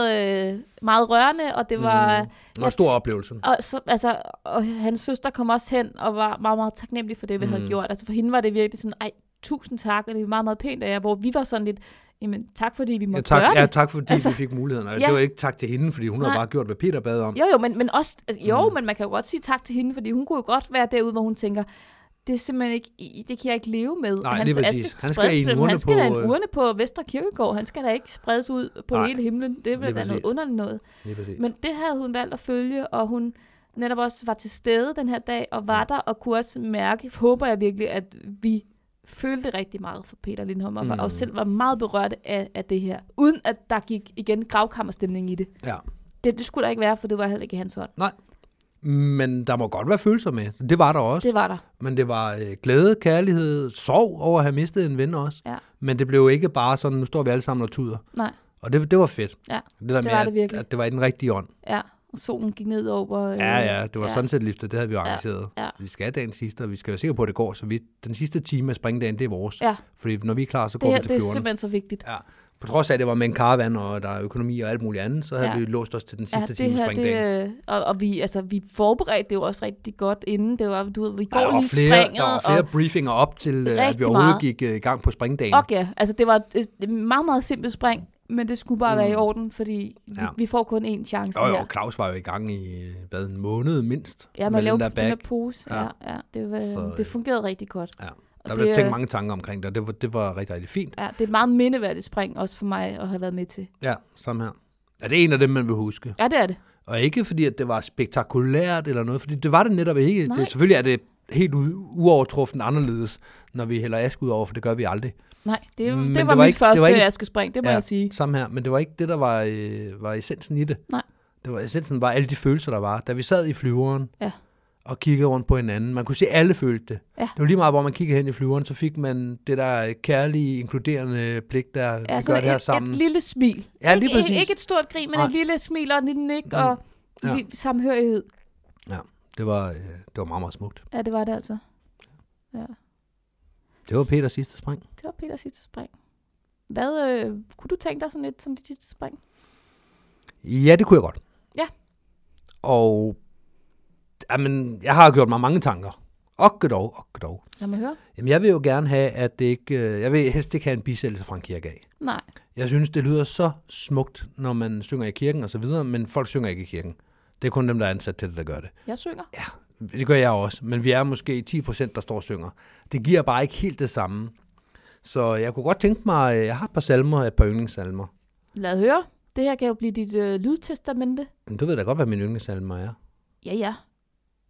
S2: øh, meget rørende, og det var... Mm.
S3: Og en stor oplevelse.
S2: Og, så, altså, og hans søster kom også hen og var meget, meget taknemmelig for det, vi mm. havde gjort. Altså for hende var det virkelig sådan, ej, tusind tak, og det er meget, meget pænt af jer, hvor vi var sådan lidt, jamen tak fordi vi
S3: Ja,
S2: måtte
S3: tak,
S2: gøre det.
S3: ja, tak fordi altså,
S2: Altså,
S3: vi fik muligheden. Og ja.
S2: ja.
S3: Det var ikke tak til hende, fordi hun har
S2: Nej.
S3: bare gjort, hvad Peter bad om.
S2: Jo, jo, men, men også, altså, jo, mm. men man kan jo godt sige tak til hende, fordi hun kunne jo godt være derude, hvor hun tænker, det er simpelthen ikke, i- det kan jeg ikke leve med.
S3: Nej,
S2: Og
S3: lige præcis.
S2: aske
S3: Han skal i en
S2: spredes-
S3: urne
S2: han skal da
S3: på, øh,
S2: en urne på Vestre Kirkegård. Han skal da ikke spredes ud på
S3: Nej,
S2: hele himlen. Det
S3: lige
S2: ville være noget
S3: præcis.
S2: underligt noget.
S3: Lige præcis.
S2: Men det havde hun valgt at følge, og hun netop også var til stede den her dag, og var der, og kunne også mærke, håber jeg virkelig, at vi følte rigtig meget for Peter Lindholm, og, mm. og selv var meget berørt af, af det her, uden at der gik igen gravkammerstemning i det.
S3: Ja.
S2: det. Det skulle der ikke være, for det var heller ikke i hans hånd.
S3: Nej. Men der må godt være følelser med. Det var der også.
S2: Det var der.
S3: Men det var øh, glæde, kærlighed, sorg over at have mistet en ven også.
S2: Ja.
S3: Men det blev ikke bare sådan, nu står vi alle sammen og tuder.
S2: Nej,
S3: Og det, det var fedt.
S2: ja,
S3: Det der
S2: Det
S3: med,
S2: var
S3: at-
S2: det virkelig.
S3: At det var i den rigtige ånd.
S2: ja. Og solen gik ned over... Øh,
S3: Ja, ja, det var ja. sådan set liftet, det havde vi jo
S2: Ja,
S3: arrangeret.
S2: ja.
S3: Vi skal have dagen sidste, og vi skal være sikre på, at det går. Så vi, den sidste time af springdagen, det er vores.
S2: Ja.
S3: Fordi når vi er klar, så
S2: Det,
S3: går
S2: her,
S3: vi
S2: det
S3: til
S2: er
S3: flyverne.
S2: simpelthen så vigtigt.
S3: Ja. På trods af, at det var med en karavan, og der er økonomi og alt muligt andet, så havde ja.
S2: Ja.
S3: vi låst os til den
S2: Ja,
S3: sidste
S2: det
S3: time af
S2: her,
S3: springdagen.
S2: det, øh, og, og vi, altså, vi forberedte det jo også rigtig godt inden. Det var, du ved, vi går
S3: der var
S2: lige
S3: flere,
S2: springet.
S3: der var flere
S2: og,
S3: briefinger op til, øh, at vi
S2: Rigtig
S3: overhovedet
S2: meget.
S3: gik øh, i gang på springdagen.
S2: og ja, altså det var et, et meget, meget simpelt spring, men det skulle bare mm. være i orden, fordi ja. vi,
S3: Ja.
S2: vi får kun én chance
S3: Jo,
S2: her.
S3: jo, Claus var jo i gang i, øh, hvad, en måned mindst.
S2: Ja,
S3: med
S2: man
S3: den
S2: laver
S3: der
S2: den der
S3: bag.
S2: pose. Ja,
S3: Ja.
S2: ja, det, var,
S3: Så, øh,
S2: det fungerede rigtig godt.
S3: Ja.
S2: Og
S3: Der
S2: det,
S3: blev
S2: øh,
S3: tænkt mange tanker omkring det, og det var, det var rigtig, rigtig fint.
S2: Ja, det er et meget mindeværdigt spring, også for mig at have været med til.
S3: Ja, samme her. Ja, det er en af dem, man vil huske.
S2: Ja, det er det.
S3: Og ikke fordi, at det var spektakulært eller noget, fordi det var det netop ikke.
S2: Nej.
S3: Det, selvfølgelig er det helt u- uovertruffen anderledes, når vi hælder ask ud over, for det gør vi aldrig.
S2: Nej, det, det,
S3: Men
S2: var, det var mit ikke, første det var
S3: ikke-
S2: askespring, det må ja. jeg sige.
S3: Samme her, men det var ikke det, der var, øh, var essensen i det.
S2: Nej.
S3: Det var essensen var alle de følelser, der var. Da vi sad i flyveren
S2: Ja.
S3: og kiggede rundt på hinanden, man kunne se, at alle følte det.
S2: Ja.
S3: Det var lige meget, hvor man kiggede hen i flyveren, så fik man det der kærlige, inkluderende blik, der ja, vi gør
S2: sådan
S3: det her
S2: et,
S3: sammen.
S2: Et lille smil.
S3: Ja, lige
S2: ikke,
S3: præcis.
S2: Ikke, ikke et stort grin, men
S3: Nej.
S2: et lille smil og et lille nik mm. og
S3: Ja.
S2: ja. samhørighed.
S3: Ja, det var, øh, det var meget, meget smukt.
S2: Ja, det var det altså. Ja,
S3: Det var Peters sidste spring.
S2: det var Peters sidste spring. Hvad, øh, kunne du tænke dig sådan lidt som dit sidste spring?
S3: Ja, det kunne jeg godt.
S2: Ja.
S3: Og jamen, jeg har gjort mig mange tanker. Og dog, og dog.
S2: Lad mig høre.
S3: Jamen, jeg vil jo gerne have, at det ikke... øh, Jeg vil helst ikke have en bisættelse fra en kirke af.
S2: Nej,
S3: Jeg synes, det lyder så smukt, når man synger i kirken og så videre, men folk synger ikke i kirken. Det er kun dem, der er ansat til det, der gør det.
S2: jeg synger.
S3: Ja, det gør jeg også, men vi er måske 10 procent, der står og synger. Det giver bare ikke helt det samme. Så jeg kunne godt tænke mig, øh, jeg har et par salmer, et par yndlingssalmer.
S2: Lad høre. Det her kan jo blive dit øh, lydtestamente.
S3: Men du ved da godt, hvad mine yndlingssalmer er.
S2: Ja, ja.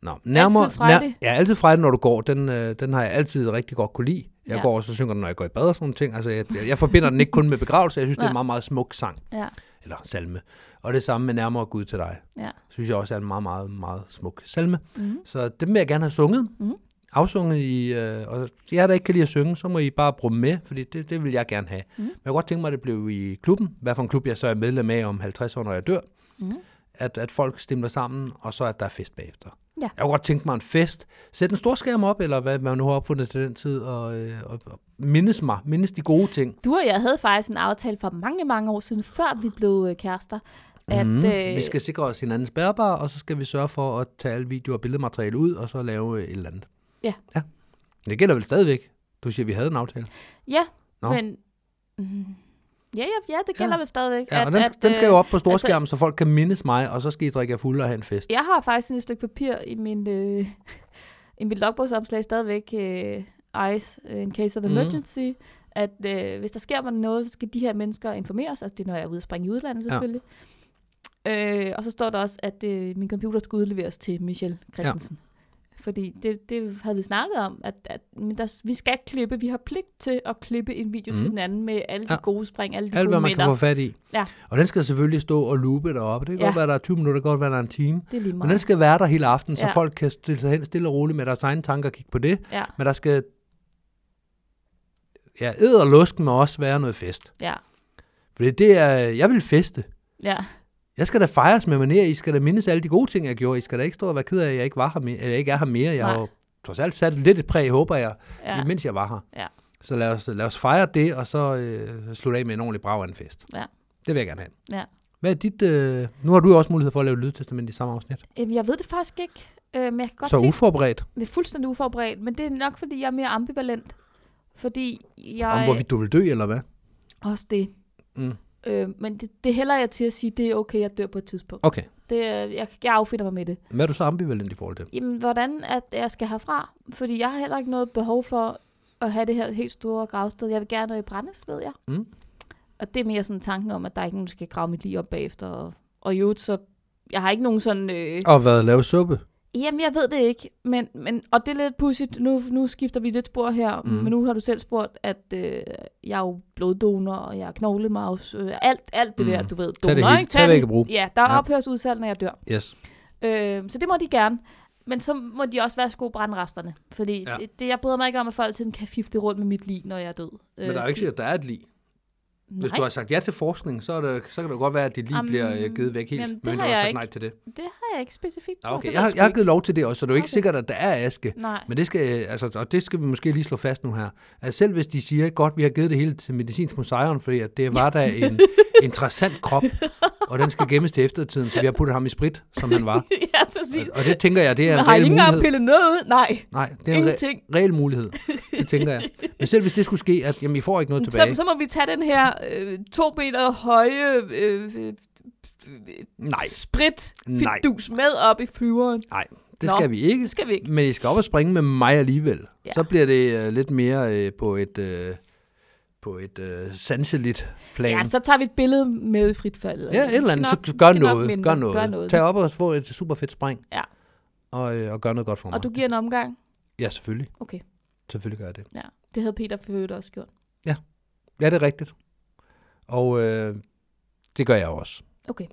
S3: Nå, nærmere,
S2: Altid Friday.
S3: nær- ja, altid Friday, når du går. Den, øh, den har jeg altid rigtig godt kunne lide. Jeg ja.
S2: Ja.
S3: går også og synger den, når jeg går i bad og sådan nogle ting. Altså, jeg, jeg, jeg forbinder den ikke kun med begravelse. Jeg synes, det er en
S2: Nej.
S3: meget, meget smuk sang.
S2: Ja,
S3: Eller salme. Og det samme med nærmere Gud til dig.
S2: ja.
S3: synes jeg også er en meget, meget, meget smuk salme.
S2: Mhm.
S3: Så det vil jeg gerne have sunget.
S2: Mhm.
S3: Afsunget i... Øh, og jer, der ikke kan lide at synge, så må I bare bruge med, fordi det, det vil jeg gerne have.
S2: Mhm.
S3: Men jeg kunne godt tænke mig, at det blev i klubben. Hvad for en klub jeg så er medlem af om 50 år, når jeg dør.
S2: Mhm.
S3: At, at folk stemmer sammen, og så at der er fest bagefter.
S2: Ja.
S3: Jeg kunne godt tænke mig en fest. Sæt en stor skærm op, eller hvad man nu har opfundet til den tid, og, øh, og, og mindes mig. Mindes de gode ting.
S2: Du og jeg havde faktisk en aftale for mange, mange år siden, før vi blev øh, kærester. At,
S3: Mm.
S2: øh,
S3: Vi skal sikre os hinandens bærbare, og så skal vi sørge for at tage alle video- og billedmateriale ud, og så lave øh, et eller andet.
S2: Ja.
S3: ja. Det gælder vel stadigvæk. Du siger, at vi havde en aftale.
S2: Ja,
S3: Nå.
S2: Nå. men... Mm, ja, ja, ja, det gælder
S3: Ja.
S2: ja. vel stadigvæk.
S3: Ja, og den, at, den skal
S2: øh,
S3: jo op på
S2: altså-
S3: storskærmen, altså, så folk kan mindes mig, og så skal I drikke jer fulde og have en fest.
S2: Jeg har faktisk sådan et stykke papir i min, øh, i mit logbogsopslag stadigvæk, øh, ICE, øh, in case of
S3: Mhm.
S2: emergency, mm. at øh, hvis der sker mig noget, så skal de her mennesker informeres. Altså, det er, når jeg er ude og springe i udlandet,
S3: Ja.
S2: selvfølgelig. Øh, og så står der også, at øh, min computer skal udleveres til Michelle Christensen. Ja. Fordi det, det havde vi snakket om, at, at men der, vi skal klippe, vi har pligt til at klippe en video mm.
S3: Mhm.
S2: til den anden med alle de
S3: Ja.
S2: ja. gode spring, alle de
S3: Alt,
S2: gode
S3: hvad man
S2: minder.
S3: kan få fat i.
S2: Ja.
S3: Og den skal selvfølgelig stå og loope deroppe. Det kan ja.
S2: Ja.
S3: godt være, der er 20 minutter, det kan godt være, der er en time.
S2: Det er lige
S3: Men den
S2: meget.
S3: skal være der hele aften, så ja.
S2: Ja.
S3: folk kan stille sig hen stille og roligt med deres egne tanker og kigge på det.
S2: Ja,
S3: Men der skal... Ja, æd og lusk må også være noget fest.
S2: ja,
S3: Fordi det er... Jeg vil feste.
S2: ja.
S3: Jeg skal da fejres med maner, I skal da mindes alle de gode ting, jeg gjorde. I skal da ikke stå og være ked af, at jeg ikke, var her mere, eller jeg ikke er her mere. Jeg har
S2: Nej.
S3: jo trods alt sat lidt et præg, håber jeg,
S2: ja.
S3: ja. mens jeg var her.
S2: Ja.
S3: Så lad os, lad os fejre det, og så øh, slutte af med en ordentlig brav af en fest.
S2: Ja.
S3: Det vil jeg gerne have.
S2: Ja.
S3: Hvad er dit... Øh, nu har du jo også mulighed for at lave lydtestament i samme afsnit.
S2: Jamen, jeg ved det faktisk ikke, øh, men jeg kan godt
S3: så
S2: se,
S3: uforberedt.
S2: det er fuldstændig uforberedt, men det er nok, fordi jeg er mere ambivalent. Fordi
S3: Om
S2: jeg...
S3: hvorvidt du vil dø, eller hvad?
S2: Også det.
S3: Mm.
S2: Øh, men det, det hælder jeg til at sige, det er okay, jeg dør på et tidspunkt.
S3: Okay.
S2: Det, øh, jeg, jeg affinder mig med det.
S3: Hvad er du så ambivalent i forhold til?
S2: Jamen, hvordan at jeg skal herfra? Fordi jeg har heller ikke noget behov for at have det her helt store gravsted. Jeg vil gerne i brændes, ved jeg.
S3: Mm.
S2: Og det er mere sådan tanken om, at der er ikke nogen, der skal grave mit lige op bagefter. Og, og i øvrigt, så jeg har ikke nogen sådan... Øh,
S3: Og hvad lave suppe?
S2: Jamen, jeg ved det ikke, men, men, og det er lidt pudsigt. Nu, nu skifter vi lidt spor her,
S3: Mm.
S2: mm. men nu har du selv spurgt, at øh, jeg er jo bloddonor, og jeg er knoglemaus, øh, alt, alt det
S3: Mm.
S2: mm. der, du ved.
S3: Tag det
S2: Donor,
S3: hele.
S2: ikke?
S3: Tag, hvad I kan bruge.
S2: Ja, der er
S3: Ja.
S2: ja. ophørsudsalg, når jeg dør.
S3: Yes.
S2: Øh, så det må de gerne. Men så må de også være så gode brandresterne. Fordi
S3: Ja.
S2: ja. det, det, jeg bryder mig ikke om, at folk sådan kan fifte rundt med mit lig, når jeg er død. Øh,
S3: Men der er jo ikke sikkert, at der er et lig. Hvis
S2: nej,
S3: du har sagt ja til forskning, så, er det, så kan det jo godt være, at dit lig
S2: Jamen,
S3: bliver øh, givet væk helt.
S2: jamen, det
S3: men
S2: har
S3: du har
S2: jeg
S3: sagt
S2: ikke.
S3: nej til det.
S2: det har jeg ikke specifikt.
S3: Ja,
S2: tror
S3: okay.
S2: Det
S3: Jeg,
S2: ved
S3: har,
S2: sgu
S3: jeg har
S2: ikke.
S3: givet lov til det også, så det er jo ikke
S2: Okay.
S3: sikkert, at der er aske.
S2: Nej.
S3: Men det skal, øh, altså, og det skal vi måske lige slå fast nu her. Altså selv hvis de siger, godt, vi har givet det hele til Medicinsk Museion, fordi at det var da en interessant krop, og den skal gemmes til eftertiden, så vi har puttet ham i sprit, som han var.
S2: ja, præcis.
S3: Og det tænker Altså, jeg, det er
S2: Men
S3: en
S2: har I
S3: reel
S2: ikke engang
S3: mulighed.
S2: pillet noget ud? Nej,
S3: Nej, det er en re-
S2: ingenting.
S3: reel mulighed, det tænker jeg. Men selv hvis det skulle ske, at jamen, I får ikke noget
S2: Så,
S3: tilbage.
S2: så må vi tage den her øh, to meter høje øh, øh,
S3: Nej,
S2: sprit
S3: Nej.
S2: fidus med op i flyveren.
S3: nej, det
S2: Nå.
S3: skal vi ikke.
S2: Det skal vi ikke.
S3: Men I skal op og springe med mig alligevel. Ja.
S2: Ja.
S3: Så bliver det øh, lidt mere øh, på et, øh, på et øh, sanseligt plan.
S2: Ja, så tager vi et billede med i frit fald.
S3: Ja, et
S2: Vi skal
S3: eller andet.
S2: nok-
S3: Så
S2: vi
S3: gør
S2: skal nok
S3: noget,
S2: mindre.
S3: gør noget.
S2: Gør noget.
S3: Tag op og få et super fedt spring.
S2: Ja.
S3: Og, øh, og gør noget godt for mig.
S2: Og du giver en omgang?
S3: Ja, selvfølgelig.
S2: Okay,
S3: Selvfølgelig gør jeg det.
S2: ja. Det havde Peter for øvrigt også gjort.
S3: Ja, det er rigtigt. Og øh, det gør jeg også.
S2: Okay.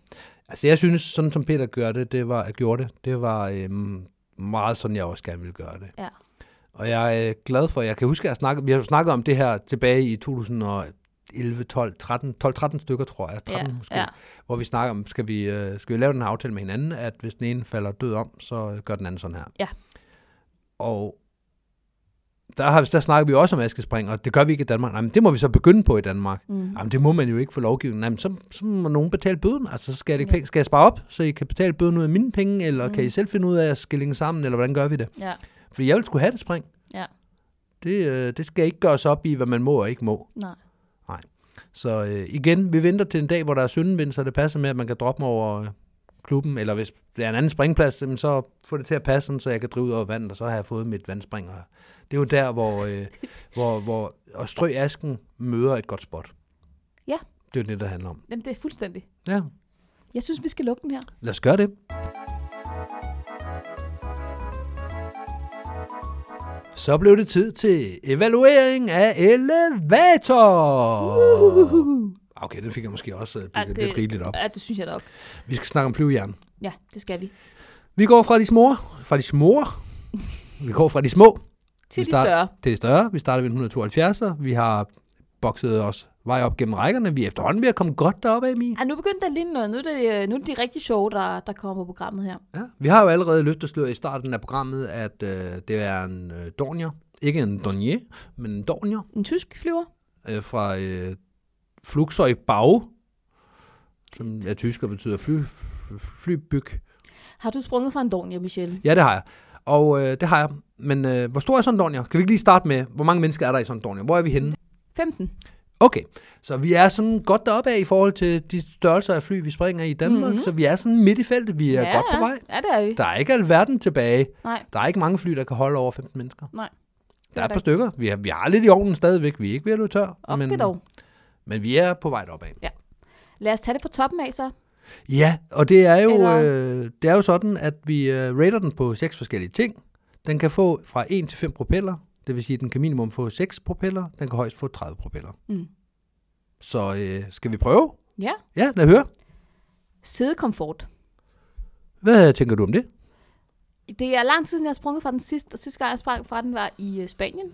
S3: Altså, jeg synes, sådan som Peter gør det, det var, gjorde det, det var øh, meget sådan, jeg også gerne ville gøre det.
S2: Ja.
S3: Og jeg er øh, glad for, jeg kan huske, at jeg snakkede, vi har jo snakket om det her tilbage i 2011, 12, 13, 12, 13 stykker, tror jeg, 13
S2: ja,
S3: måske.
S2: ja.
S3: hvor vi snakker om, skal vi, øh, skal vi lave den her aftale med hinanden, at hvis den ene falder død om, så gør den anden sådan her.
S2: Ja.
S3: Og der, har, der snakker vi også om askespring, og det gør vi ikke i Danmark. Nej, men det må vi så begynde på i Danmark.
S2: Mm.
S3: Jamen, det må man jo ikke for lovgivningen. Jamen, så, så må nogen betale bøden. Altså, så skal, jeg ikke
S2: Ja.
S3: penge, skal jeg spare op, så I kan betale bøden ud af mine penge, eller mm. kan
S2: Mm.
S3: I selv finde ud af at skille den sammen, eller hvordan gør vi det?
S2: Ja,
S3: Fordi jeg vil skulle have det spring.
S2: Ja.
S3: Det, øh, det skal ikke gøres op i, hvad man må og ikke må.
S2: nej.
S3: Så øh, igen, vi venter til en dag, hvor der er søndenvind, så det passer med, at man kan droppe mig over øh, klubben, eller hvis der er en anden springplads, jamen, så få det til at passe, sådan, så jeg kan drive ud over vandet, og så har jeg fået mit vandspring. Og det er jo der, hvor, øh, hvor, hvor at strø asken møder et godt spot.
S2: Ja.
S3: Det er jo det, der handler om.
S2: Jamen, det er fuldstændig.
S3: Ja,
S2: Jeg synes, vi skal lukke den her.
S3: lad os gøre det. Så blev det tid til evaluering af elevator.
S2: Uhuhu.
S3: Okay, den fik jeg måske også øh,
S2: Ja,
S3: bygget lidt rigeligt op.
S2: Ja, det synes jeg nok.
S3: Vi skal snakke om flyvejern.
S2: Ja, det skal vi.
S3: Vi går fra de små, fra de små, vi går fra de små
S2: Til
S3: Vi
S2: de
S3: start-
S2: større.
S3: til de større. Vi starter ved en 172'er. Vi har bokset os vej op gennem rækkerne. Vi er efterhånden ved at komme godt deroppe af, Emil.
S2: Ja, Ah, nu begyndte der lige noget. Nu er det, øh, nu er det de rigtig sjove, der, der kommer på programmet her.
S3: Ja. Vi har jo allerede løftet sløret i starten af programmet, at øh, det er en øh, Dornier. Ikke en Dornier, men en Dornier
S2: En tysk flyver.
S3: øh, fra øh, Fluxøj Bau, som er tysk og betyder fly, f- flybyg.
S2: Har du sprunget fra en Dornier, Michelle?
S3: Ja, det har jeg. Og øh, det har jeg. Men øh, hvor stor er sådan en Dornier? Kan vi ikke lige starte med, hvor mange mennesker er der i sådan en Dornier? Hvor er vi henne?
S2: 15.
S3: Okay, så vi er sådan godt deroppe af i forhold til de størrelser af fly, vi springer i Danmark. Mm-hmm. Så vi er sådan midt i feltet. Vi er ja. godt på vej.
S2: Ja, det er vi.
S3: Der er ikke alverden tilbage.
S2: Nej,
S3: Der er ikke mange fly, der kan holde over 15 mennesker.
S2: nej.
S3: Der er
S2: er
S3: et
S2: der
S3: par stykker. Vi er, vi er lidt i ovnen stadigvæk. Vi er ikke ved at løbe tør.
S2: Op men... dog.
S3: men vi er på vej deroppe af.
S2: Lad os tage det fra toppen af, så.
S3: Ja, og det er jo,
S2: Eller-
S3: øh, det er jo sådan, at vi øh, rater den på seks forskellige ting. Den kan få fra 1 til 5 propeller, det vil sige, at den kan minimum få 6 propeller, den kan højst få 30 propeller.
S2: Mm.
S3: Så øh, skal vi prøve?
S2: Ja.
S3: Ja, lad høre.
S2: Sædekomfort.
S3: Hvad tænker du om det?
S2: Det er lang tid siden, jeg har sprunget fra den sidste, og sidste gang, jeg sprang fra den, var i øh, Spanien.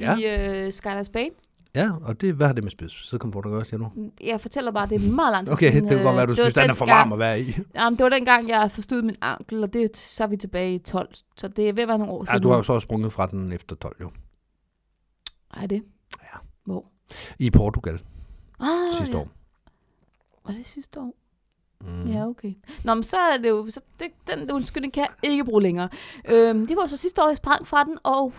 S3: Ja.
S2: I øh, Skylar Spain.
S3: Ja, og det, hvad har det med spids? Så kommer du også siger nu.
S2: Jeg fortæller bare, det er meget lang tid
S3: Okay,
S2: siden.
S3: det kan godt
S2: øh,
S3: være, du
S2: var
S3: synes, den er for
S2: dengang-
S3: varm at være i.
S2: Jamen, det var dengang, jeg forstod min ankel, og det så er vi tilbage i 12. Så det er ved at være nogle år
S3: Ja,
S2: siden.
S3: du har jo så også sprunget fra den efter 12, jo.
S2: Ej, det.
S3: Ja.
S2: Hvor?
S3: I Portugal
S2: Ah,
S3: sidste
S2: ja.
S3: år.
S2: Var det sidste år?
S3: Mm.
S2: Ja, okay. Nå, men så er det jo... Så det, den undskyldning kan jeg ikke bruge længere. Øhm, det var så sidste år, jeg sprang fra den, og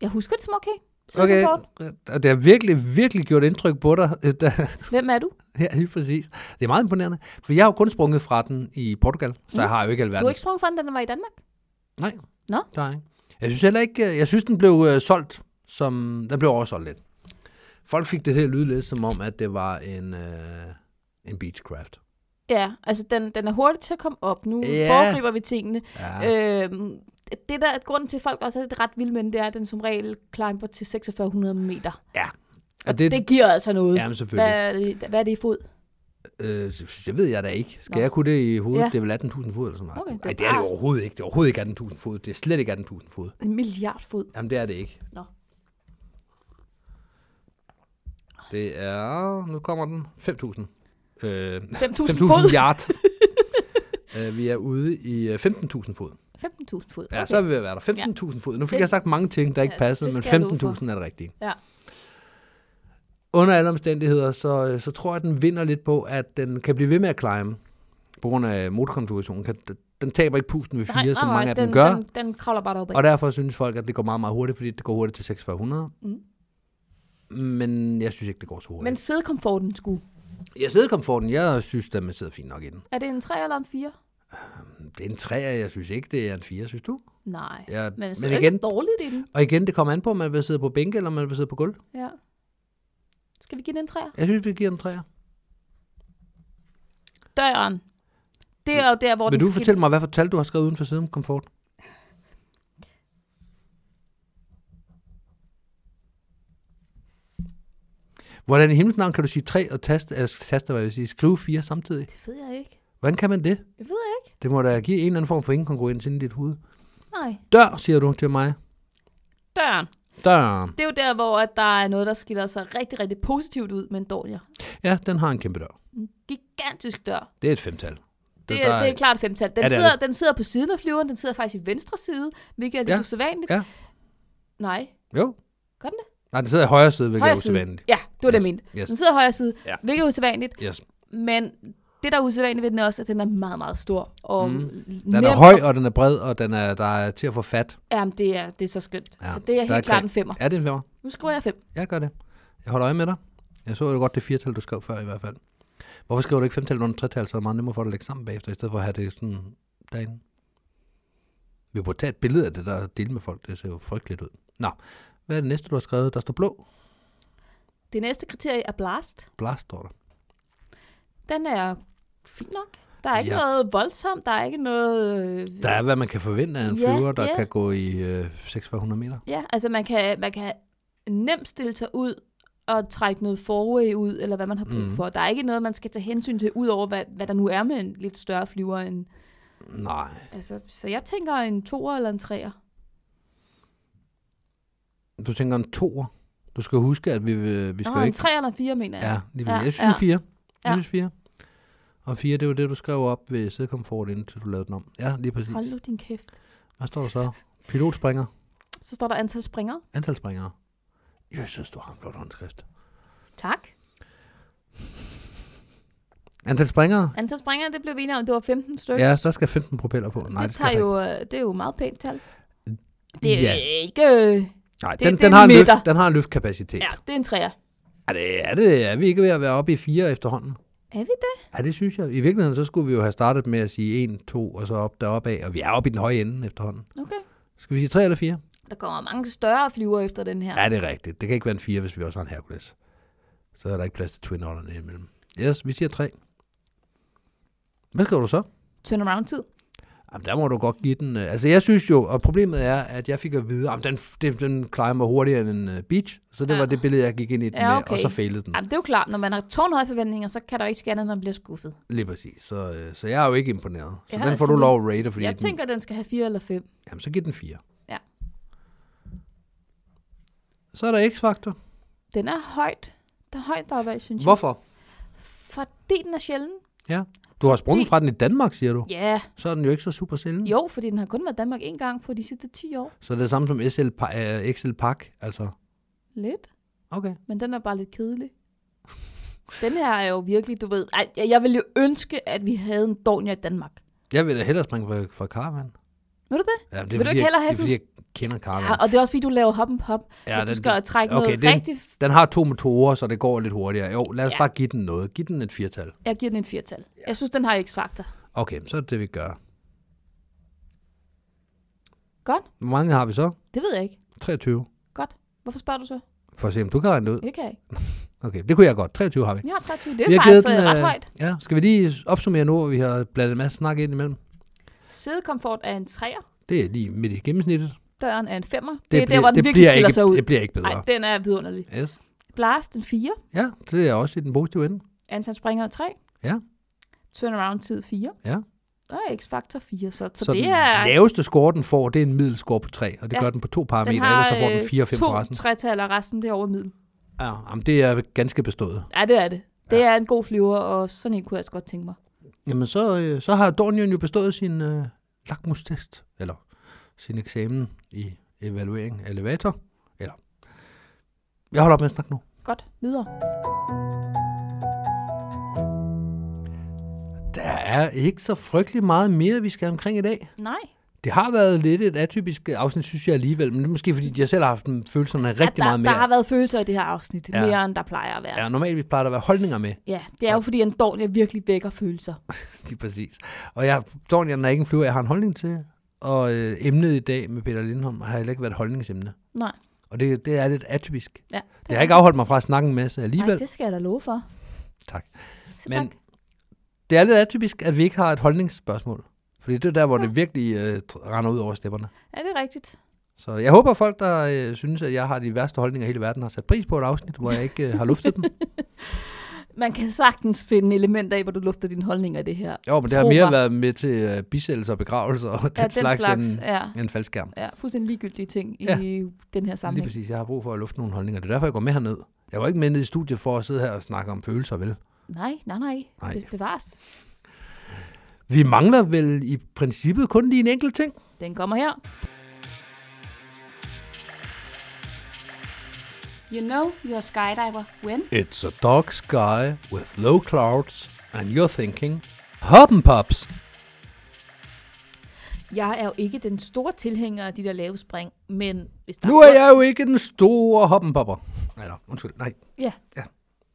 S2: jeg husker det som okay.
S3: Okay.
S2: Silkeborg.
S3: Og det har virkelig, virkelig gjort indtryk på dig. øh, Da,
S2: Hvem er du?
S3: ja, lige præcis. Det er meget imponerende. For jeg har jo kun sprunget fra den i Portugal, så
S2: Mm.
S3: jeg har jo ikke alverden.
S2: Du er ikke sprunget fra den, da den var i Danmark?
S3: Nej.
S2: Nå.
S3: Der er ikke. Jeg synes heller ikke, øh, jeg synes, den blev øh, solgt, som, den blev oversolgt lidt. Folk fik det til at lyde lidt som om, at det var en, øh, en beachcraft.
S2: Ja, altså den, den er hurtig til at komme op. Nu
S3: Ja.
S2: yeah. foregriber vi tingene.
S3: Ja. Øh.
S2: Ja. Øhm, det der er grunden til, at folk også er ret vilde med den, det er, at den som regel climber til 4600 meter. Og det, det giver altså noget.
S3: Jamen selvfølgelig.
S2: hvad, er det, hvad er det i fod?
S3: Øh, så- det ved jeg da ikke. Skal
S2: Nå.
S3: jeg kunne det i hovedet?
S2: Ja.
S3: Ja. Det er vel 18.000 fod eller sådan noget.
S2: Okay,
S3: Okay,
S2: det er
S3: det Ej, det er det
S2: bare-
S3: jo overhovedet ikke. Det er overhovedet ikke 18.000 fod. Det er slet ikke 18.000 fod.
S2: En milliard fod.
S3: Jamen, det er det ikke.
S2: Nå.
S3: Det er... Nu kommer den. 5.000. Øh,
S2: 5.000
S3: 5.000
S2: fod.
S3: yard. øh, vi er ude i øh, 15.000 fod.
S2: 15.000 fod.
S3: Ja, så er vi ved at være der. 15.000 fod. Nu fik
S2: Det-
S3: jeg sagt mange ting, der ikke
S2: Ja,
S3: passede,
S2: det
S3: men
S2: skal jeg love for.
S3: 15.000 er det rigtige.
S2: Ja.
S3: Under alle omstændigheder, så, øh, så tror jeg, at den vinder lidt på, at den kan blive ved med at climb. På grund af motorkonfigurationen. Kan, den taber ikke pusten ved fire, som mange af dem
S2: den,
S3: gør.
S2: Den, den kravler bare deroppe.
S3: Og derfor synes folk, at det går meget, meget hurtigt, fordi det går hurtigt til 4600.
S2: Mm.
S3: Men jeg synes ikke, det går så hurtigt.
S2: Men
S3: Men...
S2: sædekomforten skulle.
S3: Jeg sidder komforten, jeg synes, at man sidder fint nok i den.
S2: Er det en 3 eller en 4?
S3: Det er en 3, jeg synes ikke, det er en 4, synes du?
S2: Nej.
S3: Ja,
S2: Men,
S3: men
S2: men igen,
S3: igen-
S2: ikke dårligt i den.
S3: Og igen, det kommer an på, om man vil sidde på bænke, eller om man vil sidde på gulv.
S2: Ja. Skal vi give den en 3?
S3: Jeg synes, vi giver den 3. Vil
S2: Døren. Det er jo der, hvor den
S3: du
S2: skil-
S3: fortælle mig, hvad for tal du har skrevet uden for siden om komfort? Hvordan i himlens navn kan du sige 3 og taste, altså taste, hvad jeg vil sige, skrive 4 samtidig?
S2: Det ved jeg ikke.
S3: Hvordan kan man det?
S2: Jeg ved ikke.
S3: Det må da give en eller anden form for inkongruens inde i dit hoved.
S2: Nej.
S3: Dør, siger du til mig.
S2: Døren.
S3: Dør.
S2: Det er jo der, hvor at der er noget, der skiller sig rigtig, rigtig positivt ud, men dårligere.
S3: Ja, den har en kæmpe dør.
S2: Gigantisk dør.
S3: Det er et femtal.
S2: Det, det, er, det er klart et femtal. Den,
S3: Ja,
S2: ja,
S3: det er
S2: sidder, den sidder på siden af flyveren, den sidder faktisk i venstre side, hvilket er lidt ja.
S3: Ja.
S2: usædvanligt.
S3: Ja.
S2: Nej,
S3: Jo.
S2: gør den det?
S3: Nej, den sidder i højre side, hvilket
S2: Højre
S3: højre er
S2: side.
S3: usædvanligt.
S2: Ja, det var yes. det, jeg
S3: Yes,
S2: mente.
S3: yes.
S2: Den sidder i højre side, ja.
S3: Ja.
S2: hvilket er usædvanligt,
S3: Yes.
S2: men det, der er usædvanligt ved den er også, at den er meget, meget stor. Og mm.
S3: Den er høj, og den er bred, og den er, der er til at få fat.
S2: Jamen, det er, det er så skønt. Ja.
S3: Ja,
S2: Så det er
S3: der
S2: helt
S3: er
S2: klart
S3: kræ-
S2: en femmer.
S3: Er det en femmer?
S2: Nu skriver jeg fem.
S3: Jeg gør det. Jeg holder øje med dig. Jeg så jo godt det firetal, du skrev før i hvert fald. Hvorfor skriver du ikke femtal under tretal, så er det meget nemmere for dig at lægge sammen bagefter, i stedet for at have det sådan derinde? Vi burde tage et billede af det der og dele med folk. Det ser jo frygteligt ud. Nå, hvad er det næste, du har skrevet? Der står blå.
S2: Det næste kriterie er blast.
S3: Blast, står der.
S2: Den er fin nok. Der er ikke ja.
S3: Ja.
S2: noget voldsomt, der er ikke noget... øh,
S3: Der er, hvad man kan forvente af en
S2: Ja,
S3: flyver, der
S2: ja.
S3: kan gå i øh, 600 meter.
S2: Ja, altså man kan, man kan nemt stille sig ud og trække noget forway ud, eller hvad man har brug
S3: Mhm.
S2: for. Der er ikke noget, man skal tage hensyn til, ud over hvad, hvad der nu er med en lidt større flyver. End,
S3: Nej,
S2: altså, så jeg tænker en toer eller en treer.
S3: du tænker en toer. Du skal huske, at vi, øh, vi skal
S2: Nå, en
S3: ikke...
S2: treer eller en fire, mener jeg.
S3: Ja, lige
S2: Ja,
S3: ja, jeg synes
S2: ja.
S3: en fire. Jeg
S2: Ja.
S3: synes fire. Og fire, det var det, du skrev op ved sædekomfort, indtil du lavede den om. Ja, lige præcis.
S2: Hold nu din kæft.
S3: Hvad står der så? Pilotspringer.
S2: Så står der antal springer.
S3: Antalspringer. Jesus, du har en flot håndskrift.
S2: Tak.
S3: Antal springere?
S2: Antal springer, det blev vi enige om, det var 15 stykker.
S3: Ja, der skal 15 propeller på. Nej,
S2: det,
S3: det,
S2: det,
S3: skal
S2: tager
S3: der
S2: jo, øh, det er jo meget pænt tal.
S3: ikke.
S2: Det er
S3: Ja.
S2: ja. ikke... øh,
S3: Nej,
S2: det-
S3: den,
S2: det er
S3: den, har en løft,
S2: meter.
S3: den har en løftkapacitet.
S2: Ja, det er en træer.
S3: Er, det, er, det, er vi ikke ved at være oppe i fire efterhånden?
S2: Er vi det?
S3: Ja, det synes jeg. I virkeligheden, så skulle vi jo have startet med at sige 1, 2, og så op deroppe af. Og vi er oppe i den høje ende efterhånden.
S2: Okay.
S3: Skal vi sige 3 eller 4?
S2: Der kommer mange større flyver efter den her.
S3: Ja. ja, det er rigtigt. Det kan ikke være en 4, hvis vi også har en Hercules. Så er der ikke plads til twin otterne imellem. Yes, vi siger 3. Hvad skriver du så?
S2: Turnaround-tid.
S3: Jamen, der må du godt give den. øh, Altså, jeg synes jo, og problemet er, at jeg fik at vide, at den, den, den climber hurtigere end en øh, beach. Så det
S2: Ja.
S3: ja. var det billede, jeg gik ind i den
S2: Ja,
S3: ja, okay.
S2: okay.
S3: med, og så failede den.
S2: Jamen, det er jo klart, når man har tårnhøje forventninger, så kan der jo ikke ske andet, end man bliver skuffet.
S3: Lige præcis. Så, øh, så jeg er jo ikke imponeret. Så
S2: Ja,
S3: ja, den får
S2: altså,
S3: du
S2: det-
S3: lov at rate, fordi
S2: Fordi jeg
S3: den,
S2: tænker, den skal have fire eller fem.
S3: Jamen, så giv den 4.
S2: Ja.
S3: Så er der X-faktor.
S2: Den er højt. Der er højt deroppe, af, synes
S3: Hvorfor?
S2: jeg. Fordi den er sjælden.
S3: Ja. Du har sprunget
S2: Fordi-
S3: fra den i Danmark, siger du.
S2: Ja.
S3: Så er den jo ikke så super sjældent.
S2: Jo, fordi den har kun været i Danmark én gang på de sidste 10 år.
S3: Så er det samme som SL, pa- øh, XL Pak, altså.
S2: Lidt.
S3: Okay.
S2: Men den er bare lidt kedelig. Den her er jo virkelig, du ved... Ej, jeg- jeg ville jo ønske, at vi havde en Dornier i Danmark.
S3: Jeg vil da hellere springe fra, fra Caravan.
S2: Vil du det?
S3: Ja, det er,
S2: Vil du
S3: fordi,
S2: ikke hellere
S3: jeg,
S2: have
S3: det er, fordi
S2: sådan-
S3: jeg kender Caravan.
S2: Ja, Ah, og det er også fordi, du laver hop hop. Ja, hvis
S3: Ah, den-
S2: du skal
S3: den-
S2: trække
S3: okay,
S2: noget
S3: den-
S2: rigtig... f-
S3: Den har to motorer, så det går lidt hurtigere. Jo, lad os
S2: Ja.
S3: ja. bare give den noget. Giv den et firtal.
S2: Jeg giver den en firtal. Jeg synes, den har x-faktor.
S3: Okay, så er det det, vi gør.
S2: Godt.
S3: Hvor mange har vi så?
S2: Det ved jeg ikke.
S3: 23.
S2: Godt. Hvorfor spørger du så?
S3: For at se, om du kan regne det ud.
S2: Det kan jeg ikke.
S3: Okay, det kunne jeg godt. 23 har vi.
S2: Vi har 23. Det
S3: vi
S2: er
S3: har
S2: faktisk den, ret
S3: øh,
S2: højt.
S3: Ja, skal vi lige opsummere nu, hvor vi har blandet en masse snak ind imellem?
S2: Sædekomfort er en 3'er.
S3: Det er lige midt i gennemsnittet.
S2: Døren er en 5'er. Det, det er der, hvor den
S3: det
S2: virkelig
S3: bliver
S2: skiller
S3: ikke,
S2: sig ud.
S3: Det bliver ikke bedre.
S2: Nej, den er vidunderlig.
S3: Yes.
S2: Blast en 4.
S3: Ja, det er også i den positive ende.
S2: Antal springer 3.
S3: Ja.
S2: Turnaround-tid 4.
S3: Ja.
S2: Og X-faktor 4. Så, så,
S3: så
S2: det
S3: den
S2: er...
S3: laveste score, den får, det er en middelscore på 3, og det
S2: Ja.
S3: gør den på to
S2: den
S3: parametre,
S2: har
S3: ellers så får den
S2: øh,
S3: 4 og 5
S2: to
S3: på resten.
S2: tretaller, og resten det er over middel.
S3: Ja, jamen, det er ganske bestået.
S2: Ja, det er det. Det er en god flyver, og sådan en kunne jeg altså godt tænke mig.
S3: Jamen, så, øh, så har Dornion jo bestået sin øh, lakmustest, eller sin eksamen i evaluering af elevator. Eller, jeg holder op med at snakke nu.
S2: Godt, videre.
S3: Der er ikke så frygtelig meget mere, vi skal omkring i dag.
S2: Nej,
S3: Det har været lidt et atypisk afsnit, synes jeg alligevel, men det er måske fordi, jeg selv har haft en følelse af rigtig
S2: der,
S3: meget mere.
S2: der har været følelser i det her afsnit, ja.
S3: Ja.
S2: mere end der plejer at være. Ja,
S3: Ja, normalt plejer der at være holdninger med.
S2: ja det er jo fordi, en dårlig virkelig vækker følelser.
S3: Lige præcis. Og jeg, Dornian er ikke en flyver, jeg har en holdning til. Og øh, emnet i dag med Peter Lindholm har heller ikke været et holdningsemne.
S2: Nej,
S3: Og det, det er lidt atypisk.
S2: ja.
S3: Det har ikke afholdt mig fra at snakke en masse alligevel.
S2: Nej, det skal jeg da love for.
S3: Tak.
S2: Så
S3: Men-
S2: tak.
S3: Det er lidt atypisk, at vi ikke har et holdningsspørgsmål. Fordi det er der, hvor det virkelig øh, tr- render ud over stepperne.
S2: Ja, det er rigtigt.
S3: Så jeg håber, at folk, der øh, synes, at jeg har de værste holdninger i hele verden, har sat pris på et afsnit, hvor jeg ikke øh, har luftet dem.
S2: Man kan sagtens finde elementer af, hvor du lufter dine holdninger i det her.
S3: Jo, men det har
S2: Tro
S3: mere
S2: mig.
S3: været med til øh, bisættelser og begravelser og den,
S2: ja, den slags, slags
S3: end,
S2: ja.
S3: end falsk skærm.
S2: ja, fuldstændig ligegyldige ting i
S3: Ja.
S2: den her
S3: Lige
S2: sammenhæng.
S3: præcis. Jeg har brug for at lufte nogle holdninger. Det er derfor, jeg går med herned. Jeg var ikke med ned i studiet for at sidde her og snakke om følelser, vel?
S2: Nej, nej, nej.
S3: Nej.
S2: Det bevares.
S3: Vi mangler vel i princippet kun lige en enkelt ting.
S2: Den kommer her.
S4: You know you're a skydiver when
S3: It's a dark sky with low clouds, and you're thinking, hoppen pops.
S2: Jeg er jo ikke den store tilhænger af de der lave spring, men hvis der
S3: Nu er jeg jo ikke den store hoppenpopper. Nej, nej, undskyld. Nej,
S2: Ja,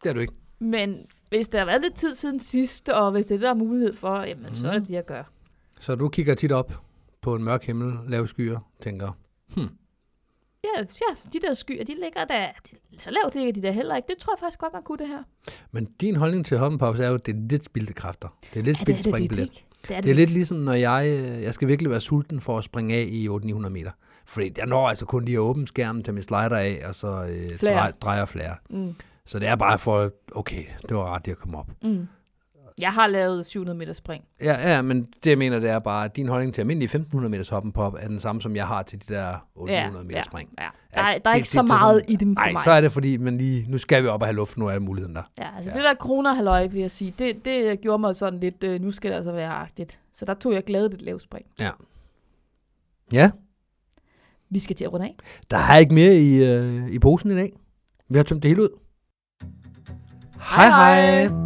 S3: det er du ikke.
S2: men hvis der har været lidt tid siden sidst, og hvis det er det, der er mulighed for, jamen, mm. så
S3: Mhm.
S2: er det det, jeg gør.
S3: Så du kigger tit op på en mørk himmel, lave skyer, tænker,
S2: Ja, ja, de der skyer, de ligger der, de, så lavt ligger de der heller ikke. Det tror jeg faktisk godt, man kunne det her.
S3: men din holdning til hoppenpops er jo, at det er lidt spildte kræfter. Det er lidt spildt springbillet.
S2: ikke? Det er
S3: Det er lidt ligesom, når jeg, øh, jeg skal virkelig være sulten for at springe af i 800 meter. Fordi jeg når altså kun lige at åbne skærmen, tage min slider af, og så øh,
S2: Flere.
S3: drej, drejer flere.
S2: Mm.
S3: Så det er bare for, okay, det var rart, at komme op.
S2: Mm. Jeg har lavet 700 meter spring.
S3: Ja, ja, men det jeg mener, det er bare, at din holdning til almindelige 1500 meters hoppen pop er den samme, som jeg har til de der 800 meter spring.
S2: Ja, ja. Der, er,
S3: Ja,
S2: der er
S3: det-
S2: ikke
S3: det-
S2: så
S3: det er
S2: meget
S3: sådan-
S2: i dem for
S3: Nej,
S2: mig.
S3: så er det fordi, men lige, nu skal vi op og have luft, nu er muligheden der.
S2: Ja, altså ja. det der kroner halvøje, vil jeg sige, det, det gjorde mig sådan lidt, øh, nu skal det altså være agtigt. Så der tog jeg glædet et lavt spring.
S3: Ja. Ja,
S2: Vi skal til at runde af.
S3: der er ikke mere i, øh, i posen i dag. Vi har tømt det hele ud. Hej hej!
S2: Hej, hej.
S3: hej.